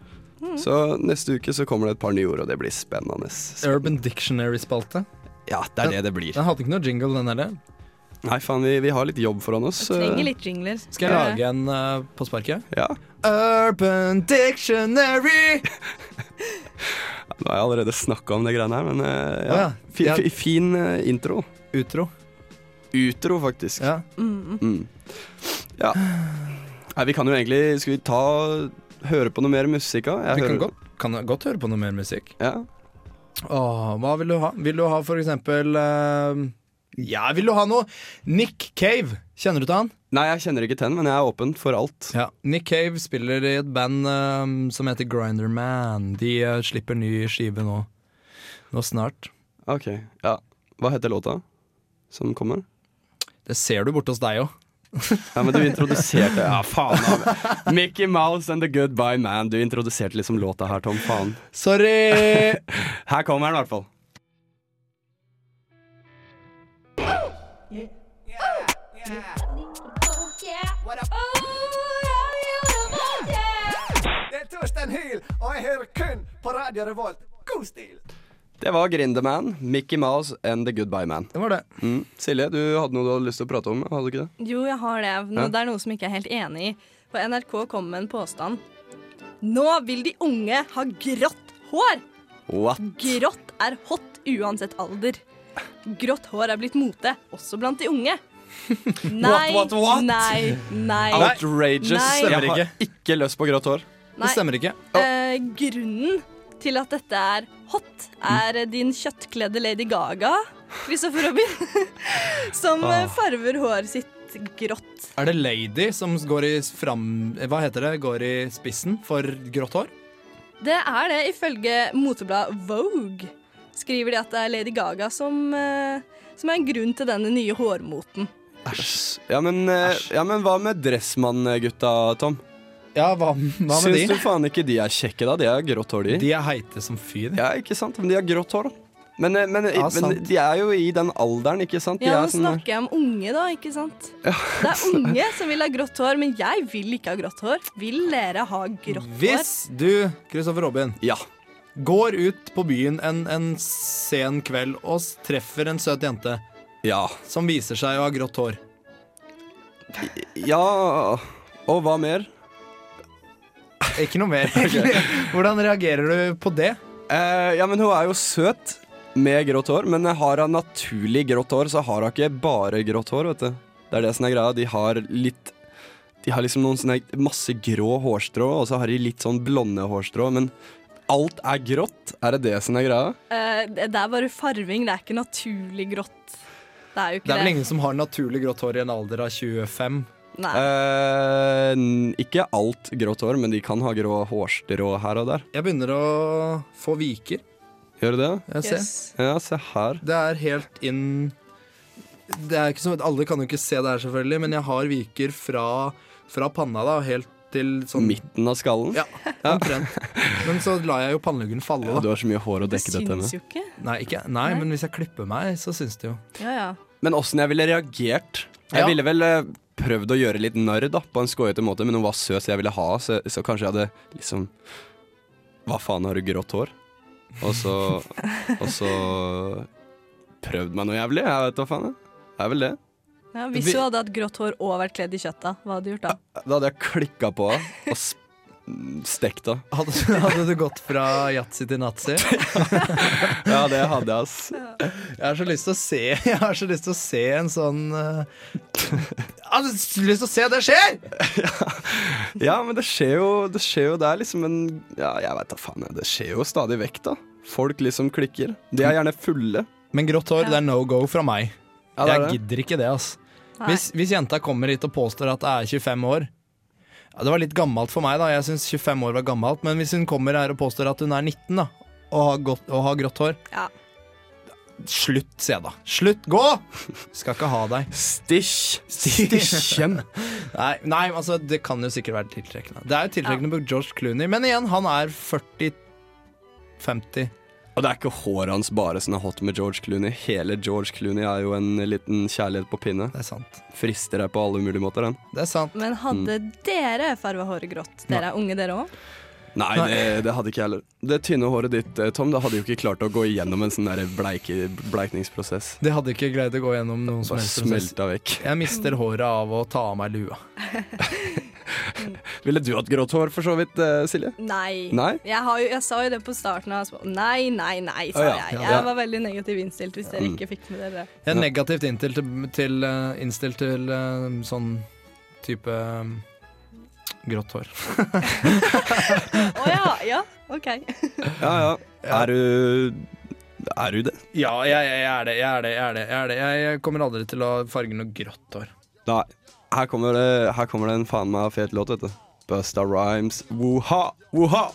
D: Mm.
E: Så neste uke så kommer det et par nye ord, og det blir spennende.
D: Urban Dictionary-spalte.
E: Ja, det er det det blir.
D: Den hadde ikke noe jingle, den heller.
E: Nei, faen, vi, vi har litt jobb foran oss. eh,
F: Trenger litt jingler.
D: Skal jeg lage en eh, på sparket?
E: Ja.
D: Urban Dictionary!
E: Nå har jeg allerede snakka om det greiene her, men eh, ja.
D: Å ja.
E: Fi-
D: Ja.
E: fi- Fin eh, intro.
D: Utro.
E: Utro, faktisk.
D: Ja.
E: Mm. Ja. Nei, vi kan jo egentlig Skal vi ta høre på noe mer musikk, da? Jeg
D: Vi kan
E: hører-
D: godt, kan godt høre på noe mer musikk.
E: Ja.
D: Åh, hva vil du ha? Vil du ha for eksempel eh, Ja, vil du ha noe? Nick Cave. Kjenner du til han?
E: Nei, jeg kjenner ikke Ten, men jeg er åpen for alt.
D: Ja. Nick Cave spiller i et band eh, som heter Grinderman. De eh, slipper ny skive nå. Nå snart.
E: Ok, ja Hva heter låta som kommer?
D: Det ser du borte hos deg òg.
E: Ja, men du introduserte Ja, faen av Mickey Mouse and The Goodbye Man. Du introduserte liksom låta her, Tom. Faen.
D: Sorry!
E: Her kommer den, i hvert fall.
J: Det er Torstein Hyl, og jeg hører kun på Radio Revolt. God stil!
E: Det var Grinderman, Mickey Mouse and The Goodbye Man.
D: Det var det.
E: Mm. Silje, du hadde noe du hadde lyst til å prate om? Hadde du ikke det?
F: Jo, jeg har det. Nå, det er noe som jeg ikke er helt enig i. For NRK kom med en påstand. Nå vil de unge ha grått hår!
E: What?
F: Grått er hot uansett alder. Grått hår er blitt mote, også blant de unge. Nei,
E: what, what?
F: nei, nei.
E: Outrageous.
F: Nei.
E: Jeg har ikke lyst på grått hår.
D: Det
F: nei.
D: stemmer ikke.
F: Eh, grunnen til at dette er hot, er
E: Mm.
F: eh, din kjøttkledde Lady Gaga, Christopher Robin, som
E: Ah.
F: eh, farver håret sitt grått.
D: Er det Lady som går i fram... Hva heter det? Går i spissen for grått hår?
F: Det er det, ifølge motebladet Vogue. Skriver de at det er Lady Gaga som, eh, som er en grunn til denne nye hårmoten.
E: Ja, men, eh, ja, men hva med Dressmann-gutta, Tom?
D: Ja, hva, hva med
E: Syns
D: de?
E: du faen ikke de er kjekke, da? De har grått hår, de.
D: De er heite som fy, de.
E: Ja, ikke sant? Men de har grått hår, da. Men, eh, men, eh,
D: Ja,
E: men
D: sant.
E: de er jo i den alderen, ikke sant? De
F: Ja,
E: er
F: nå
E: sånn-
F: snakker jeg om unge, da, ikke sant? Det er unge som vil ha grått hår, men jeg vil ikke ha grått hår. Vil dere ha grått hår?
D: Hvis du, Kristoffer Robin,
E: Ja.
D: går ut på byen en, en sen kveld og s- treffer en søt jente
E: Ja.
D: som viser seg å ha grått hår
E: Ja Og hva mer?
D: Ikke noe mer. Hvordan reagerer du på det?
E: Eh, ja, men hun er jo søt med grått hår, men har hun naturlig grått hår, så har hun ikke bare grått hår, vet du. Det er det som er greia. De har litt De har liksom noen sånne masse grå hårstrå, og så har de litt sånn blonde hårstrå, men alt er grått. Er det det som er greia?
F: Eh, det det er bare farving, det er ikke naturlig grått. Det er jo ikke
D: Det
F: det.
D: er vel ingen som har naturlig grått hår i en alder av 25.
F: Nei.
E: Eh, n- ikke alt grått hår, men de kan ha grå hårstrå her og der.
D: Jeg begynner å få viker.
E: Gjør de det?
D: Jeg ser.
F: Yes.
E: Ja, se her.
D: Det er helt inn Det er ikke som Alle kan jo ikke se det her, selvfølgelig, men jeg har viker fra, fra panna da, helt til sånn
E: Midten av skallen.
D: Ja, omtrent. Men så lar jeg jo panneluggen falle,
E: Ja, du
D: da.
E: har så mye hår å
F: Det
E: dekke dette med.
F: syns jo ikke.
D: Nei, ikke, nei, men hvis jeg klipper meg, så syns det jo.
F: Ja, ja.
E: Men åssen jeg ville reagert Jeg
D: Ja.
E: ville vel eh, prøvd å gjøre litt narr da, på en skåyete måte, men hun var søt, så jeg ville ha, så, så kanskje jeg hadde liksom Hva faen, har du grått hår? Og så Og så prøvd meg noe jævlig. Jeg vet hva faen. jeg. Det er vel det.
F: Ja, hvis du hadde hatt grått hår og vært kledd i kjøtta, hva hadde du gjort da?
D: Ah.
E: Da hadde jeg klikka på henne og s- mm, stekt henne.
D: Hadde, hadde du gått fra yatzy til nazi?
E: Ja, det hadde jeg, ass.
D: Jeg har så lyst til å se Jeg har så lyst til å se en sånn eh, Jeg har så lyst til å se det skjer!
E: Ja, men det skjer jo Det skjer jo, det er liksom en Ja, jeg veit da faen. jeg. Det skjer jo stadig vekk, da. Folk liksom klikker. De er gjerne fulle.
D: Men grått hår, det er no go fra meg.
E: Ja, det er
D: jeg
E: det.
D: gidder ikke det, ass.
F: Nei.
D: Hvis, hvis jenta kommer hit og påstår at jeg er 25 år ja, Det var litt gammelt for meg, da. Jeg syns 25 år var gammelt. Men hvis hun kommer her og påstår at hun er 19 da og har, godt, og har grått hår
F: Ja.
D: Slutt, se da. Slutt! Gå! Skal ikke ha deg.
E: Stisj.
D: Stikkjem. Nei, nei, altså, det kan jo sikkert være tiltrekkende. Det er jo tiltrekkende på George Clooney, men igjen, han er 40-50.
E: Og det er ikke håret hans bare som er hot med George Clooney. Hele George Clooney er jo en liten kjærlighet på pinne.
D: Det er sant.
E: Frister deg på alle mulige måter, den.
D: Det er sant.
F: Men hadde
D: Mm.
F: dere farga håret grått? Dere er unge, dere òg?
E: Nei, det, det hadde ikke jeg heller. Det tynne håret ditt, eh, Tom, det hadde jo ikke klart å gå igjennom en sånn der bleike, bleikningsprosess.
D: Det hadde ikke greid å gå gjennom noen som
E: Bare
D: helst prosess.
E: smelta vekk.
D: Jeg mister håret av å ta av meg lua.
E: Ville du hatt grått hår, for så vidt, eh, Silje?
F: Nei.
E: Nei?
F: Jeg, har jo, jeg sa jo det på starten av sp- Nei, nei, nei, sa
E: Å, ja.
F: jeg.
E: Ja. Mm.
F: Jeg var veldig negativ innstilt hvis dere ikke fikk med dere det.
D: Jeg er negativt innstilt til, til, eh, innstilt til eh, sånn type eh, grått hår.
F: Å ja, ja, OK.
E: Ja ja. Er du Er du det?
D: Ja, jeg, jeg er det, jeg er det, jeg er det. Jeg, er det. Jeg, jeg kommer aldri til å farge noe grått hår.
E: Nei. Her kommer det, her kommer det en faen meg fet låt, vet du. Busta Rhymes. Woha! Woha!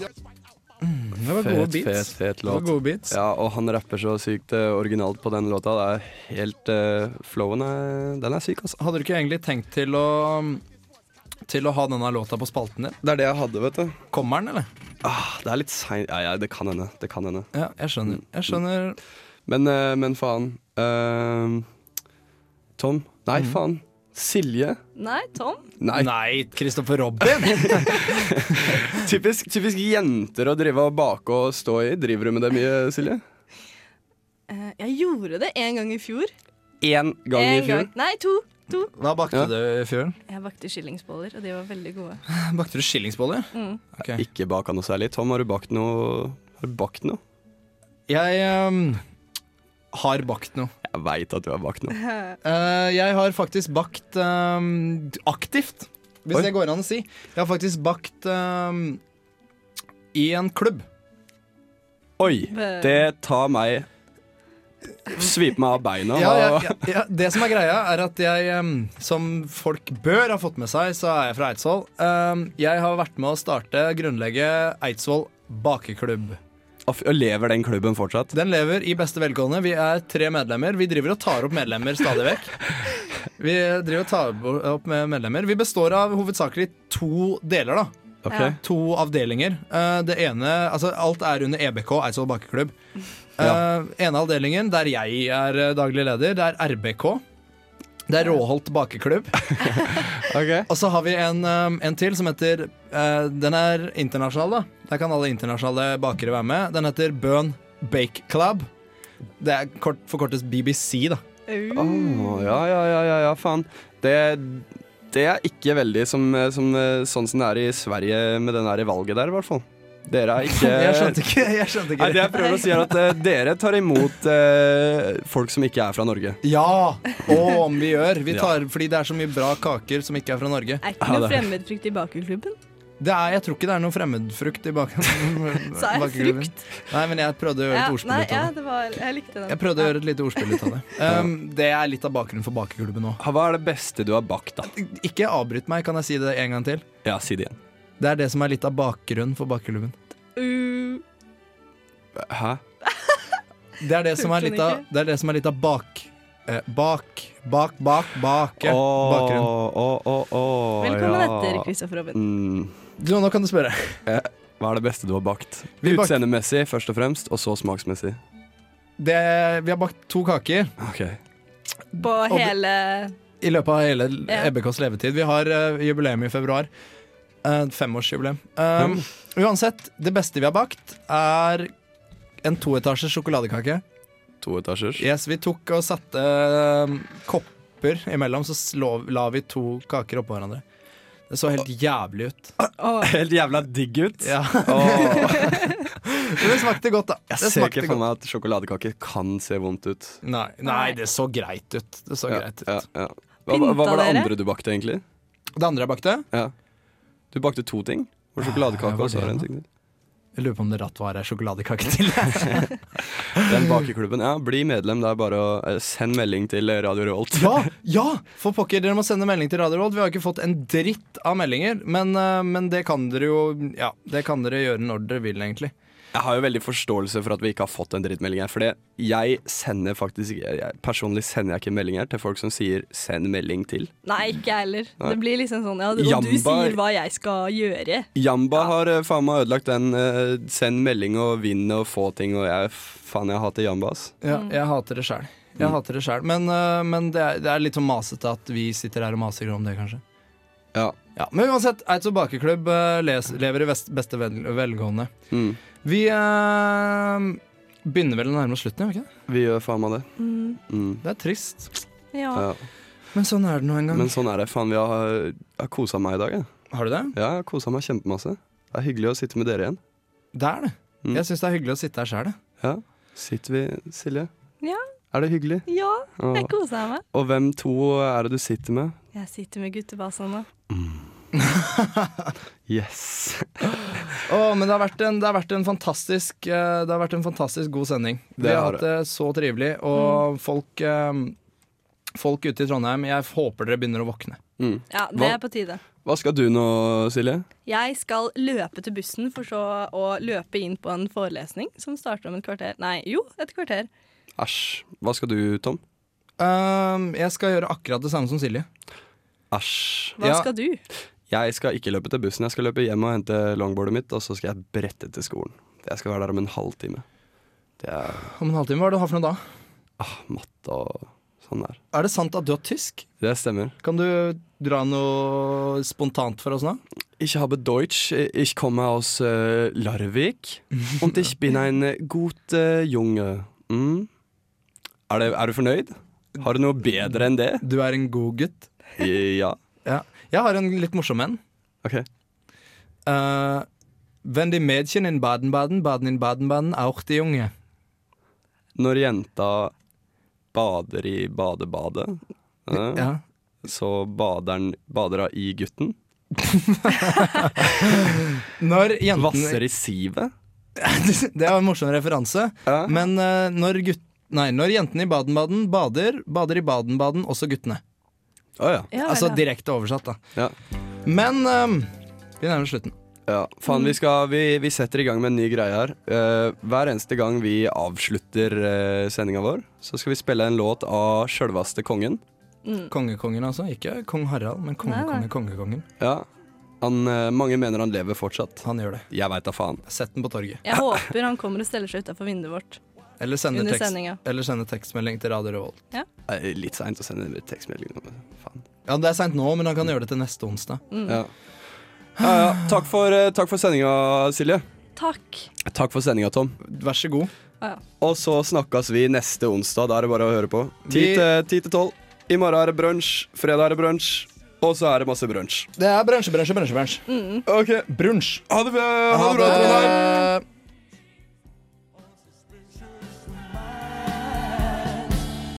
D: Det var gode
E: Fet, fet,
D: beats.
E: fet
D: Det var
E: låt.
D: gode beats.
E: Ja, og han rapper så sykt eh, originalt på den låta. Det er helt eh, Flowen er, den er syk, altså.
D: Hadde du ikke egentlig tenkt til å til å ha denne låta på spalten din?
E: Det er det jeg hadde, vet du.
D: Kommer den, eller?
E: Ah, det er litt seint ja, ja, det kan hende. Det kan hende.
D: Ja, jeg skjønner. Jeg skjønner.
E: Men, eh, men faen. Eh, Tom. Nei, faen. Silje.
F: Nei, Tom?
E: Mhm. Nei.
D: Nei, Kristoffer Robin!
E: Typisk, typisk jenter å drive og bake og stå i. Driver du med det mye, Silje?
F: Eh, Jeg gjorde det en gang i fjor.
E: Én gang i
F: En
E: fjor.
F: Nei, to. to.
D: Hva bakte
E: Ja.
D: du i fjor?
F: Jeg bakte skillingsboller, og de var veldig gode.
D: Bakte du skillingsboller? Ok.
E: Ikke baka noe særlig. Tom, har du bakt noe? Har du bakt noe?
D: Jeg eh, har bakt noe.
E: Jeg veit at du har bakt noe.
D: Eh, jeg har faktisk bakt ehm, aktivt, hvis
E: Oi.
D: det går an å si. Jeg har faktisk bakt ehm, i en klubb.
E: Oi!
F: Bø.
E: Det tar meg Sviper meg av beina.
D: Ja, ja,
E: og-
D: ja, ja, det som er greia, er at jeg, ehm, som folk bør ha fått med seg, så er jeg fra Eidsvoll. Ehm, jeg har vært med å starte, grunnlegge Eidsvoll bakeklubb.
E: Og f- og lever den klubben fortsatt?
D: Den lever i beste velgående. Vi er tre medlemmer. Vi driver og tar opp medlemmer stadig vekk. Vi driver og tar bo- opp med medlemmer. Vi består av hovedsakelig to deler, da.
E: Ok.
F: Ja.
D: to avdelinger. Eh, det ene altså Alt er under EBK, Eidsvoll Bakkeklubb. altså Eh, ene avdelingen, der jeg er eh, daglig leder, det er RBK. Det er Råholt bakeklubb.
E: Ok.
D: Og så har vi en, eh, en til som heter eh, Den er internasjonal, da. Der kan alle internasjonale bakere være med. Den heter Bøn Bake Club. Det er kort, forkortes BBC, da.
F: Au.
E: Åh, ja, ja, ja, ja, ja, faen. Det, det er ikke veldig som, som, sånn som det er i Sverige med den her i valget der, i hvert fall. Dere er ikke
D: Jeg skjønte ikke, jeg skjønte ikke
E: Nei, det jeg prøver å si, er at eh, dere tar imot eh, folk som ikke er fra Norge.
D: Ja! Og om vi gjør. Vi tar, Fordi det er så mye bra kaker som ikke er fra Norge.
F: Er ikke
E: Ja,
F: noe
E: det-
F: fremmedfrykt i bakerklubben?
D: Det er, Jeg tror ikke det er noe fremmedfrukt i bak
F: Sa jeg
D: bakgrunnen.
F: frukt?
D: Nei, men jeg prøvde å gjøre et ordspill
F: nei,
D: ut
F: ja,
D: av det.
F: det var, jeg likte den.
D: Jeg prøvde å gjøre et lite ordspill ut av det. Um, det er litt av bakgrunnen for bakeklubben nå.
E: Hva er det beste du har bakt, da?
D: Ikke avbryt meg, kan jeg si det en gang til?
E: Ja, si det igjen.
D: Det er det som er litt av bakgrunnen for bakeklubben.
F: Uh,
E: Hæ?
D: Det er det som er litt av, det er det som er litt av bak... Eh, bak, bak, bak, bake. Bakgrunn.
E: Åh, åh, åh,
F: velkommen
E: ja.
F: etter, Kristoffer Robin.
E: Mm,
D: Du, nå kan du spørre.
E: hva er det beste du har bakt?
D: Vi bak-
E: Utseendemessig først og fremst, og så smaksmessig.
D: Det, vi har bakt to kaker.
E: Ok. Mm.
F: På
D: det-
F: hele
D: I løpet av hele
F: Ja.
D: EBKs levetid. Vi har eh, jubileum i februar. Eh, femårsjubileum.
E: Mm.
D: Um, Uansett, det beste vi har bakt, er en toetasjes sjokoladekake.
E: To etasjers.
D: Yes, Vi tok og satte eh, kopper imellom, så slå, la vi to kaker oppå hverandre. Det så helt jævlig ut.
F: Åh,
E: Helt jævla digg ut.
D: Ja.
E: Åh.
D: Men det smakte godt, da.
E: Jeg
D: Det
E: ser ikke
D: smakte
E: for
D: godt.
E: meg at sjokoladekake kan se vondt ut.
D: Nei, nei, det så greit ut. Det så greit ut.
E: Ja, ja. Hva, hva
F: Pynta
E: var det
F: dere?
E: andre du bakte, egentlig?
D: Det andre jeg bakte
E: Ja. Du bakte to ting. Og
D: Ja,
E: sjokoladekake
D: hva
E: og så
D: var
E: var det en
D: det
E: ting til.
D: Jeg lurer på om det ratt var ei sjokoladekake til.
E: Den bakeklubben. Ja, bli medlem. Det er bare å eh, send melding til Radio Revolt.
D: Ja, ja, for pokker, dere må sende melding til Radio Revolt. Vi har ikke fått en dritt av meldinger, men, eh, men det kan dere jo Ja, det kan dere gjøre når dere vil, egentlig.
E: Jeg har jo veldig forståelse for at vi ikke har fått en drittmelding her. For det- jeg sender faktisk ikke jeg, Personlig sender jeg ikke meldinger til folk som sier 'send melding til'.
F: nei, ikke jeg heller.
E: Nei.
F: Det blir liksom sånn ja, Og du
E: Jamba-
F: sier hva jeg skal gjøre.
E: Jamba har eh, faen meg ødelagt den eh, 'send melding og vinn og få ting' og jeg Faen, jeg hater Jamba, ass.
D: Ja, jeg hater det sjæl. Jeg
E: Mm.
D: hater det sjæl. Men, eh, men det, er, det er litt sånn masete at vi sitter her og maser om det, kanskje.
E: Ja.
D: Ja, Men uansett, Eidsvoll bakeklubb eh, les, lever i vest, beste vel, velgående.
E: Mm.
D: Vi eh, begynner vel å nærme oss slutten, gjør vi ikke det?
E: Vi gjør faen meg det.
F: Mm,
E: Mm.
D: Det er trist.
F: ja.
E: Ja.
D: Men sånn er det nå en gang.
E: Men sånn er det. Faen, vi har, har kosa meg i dag. Jeg.
D: Har du det?
E: Ja, jeg har kosa meg kjempemasse. Det er hyggelig å sitte med dere igjen.
D: Det er det.
E: Mm.
D: Jeg syns det er hyggelig å sitte her sjæl, jeg.
E: Ja. Sitter vi, Silje?
F: Ja.
E: Er det hyggelig?
F: ja,
E: Åh.
F: jeg koser meg.
E: Og hvem to er det du sitter med?
F: Jeg sitter med guttebasen nå.
E: Yes.
D: Åh, men det har, vært en, det, har vært en fantastisk, eh, det har vært en fantastisk god sending. Vi
E: Det
D: har
E: har
D: hatt det så trivelig, og folk, eh, folk ute i Trondheim, jeg håper dere begynner å våkne.
E: Mm.
F: Ja, det
E: Hva?
F: er på tide.
E: Hva skal du nå, Silje?
F: Jeg skal løpe til bussen for så å løpe inn på en forelesning som starter om et kvarter. Nei, jo, et kvarter.
E: Æsj. Hva skal du, Tom?
D: Ehm, jeg skal gjøre akkurat det samme som Silje.
E: Æsj.
F: Hva
E: Ja,
F: skal du?
E: jeg skal ikke løpe til bussen. Jeg skal løpe hjem og hente longboardet mitt, og så skal jeg brette til skolen. Jeg skal være der om en halvtime. Det er
D: Om en halvtime, hva er det du har for noe da?
E: ah, matte og sånn der.
D: Er det sant at du er tysk?
E: Det stemmer.
D: Kan du dra noe spontant for oss nå?
E: Ich habe Deutsch. Ich komme aus äh, Larvik. Und ich bin ein äh, gut äh, Junge. Mm. Er, det, er du fornøyd? Har du noe bedre enn det?
D: Du er en god gutt.
E: Ja.
D: Ja. Jeg har en litt morsom en.
E: Ok.
D: Eh, wenn die Mädchen in Baden-Baden, Baden in Baden-Baden, auch die Junge.
E: Når jenta bader i badebadet, eh,
D: Ja.
E: så bader den- bader hun i gutten.
D: Når jentene
E: Vasser i sivet.
D: Det er en morsom referanse.
E: Ja.
D: Men eh, når, gutt, nei, når jentene i Baden-Baden bader, bader i Baden-Baden også guttene.
E: Å ja.
F: Ja, vel,
D: Altså
F: ja.
D: direkte oversatt, da.
E: ja.
D: Men ehm, vi nærmer oss slutten.
E: Ja, faen, vi, skal, vi, vi setter i gang med en ny greie her. Eh, hver eneste gang vi avslutter uh, sendinga vår, så skal vi spille en låt av sjølvaste kongen.
D: Kongekongen, altså. Ikke kong Harald, men
F: Nei, nei.
D: kongekonge-kongekongen.
E: Ja. Han, eh, mange mener han lever fortsatt.
D: Han gjør det.
E: Jeg veit da faen.
D: Sett den på torget.
F: Jeg håper han kommer og steller seg utafor vinduet vårt.
D: Eller sende,
F: Under
D: tekst,
F: sendinga.
D: eller sende tekstmelding til Radio Revolt.
E: Eh, Litt seint å sende tekstmelding. nå, men Faen.
D: Ja, Det er seint nå, men han kan gjøre det til neste onsdag.
E: Ja. Ja, ja. Takk for, eh, takk for sendinga, Silje.
F: Takk.
E: Takk for sendinga, Tom.
D: Vær så god.
E: Og så snakkes vi neste onsdag. Da er det bare å høre på. Ti
D: Vi-
E: til- ti til tolv. I morgen er det brunsj. Fredag er det brunsj. Og så er det masse brunsj.
F: Mm.
D: Det er bransje, bransje, bransje. bransje.
E: OK.
D: Brunsj.
E: Ha det, bra- ha det bra, Trondheim.
D: det.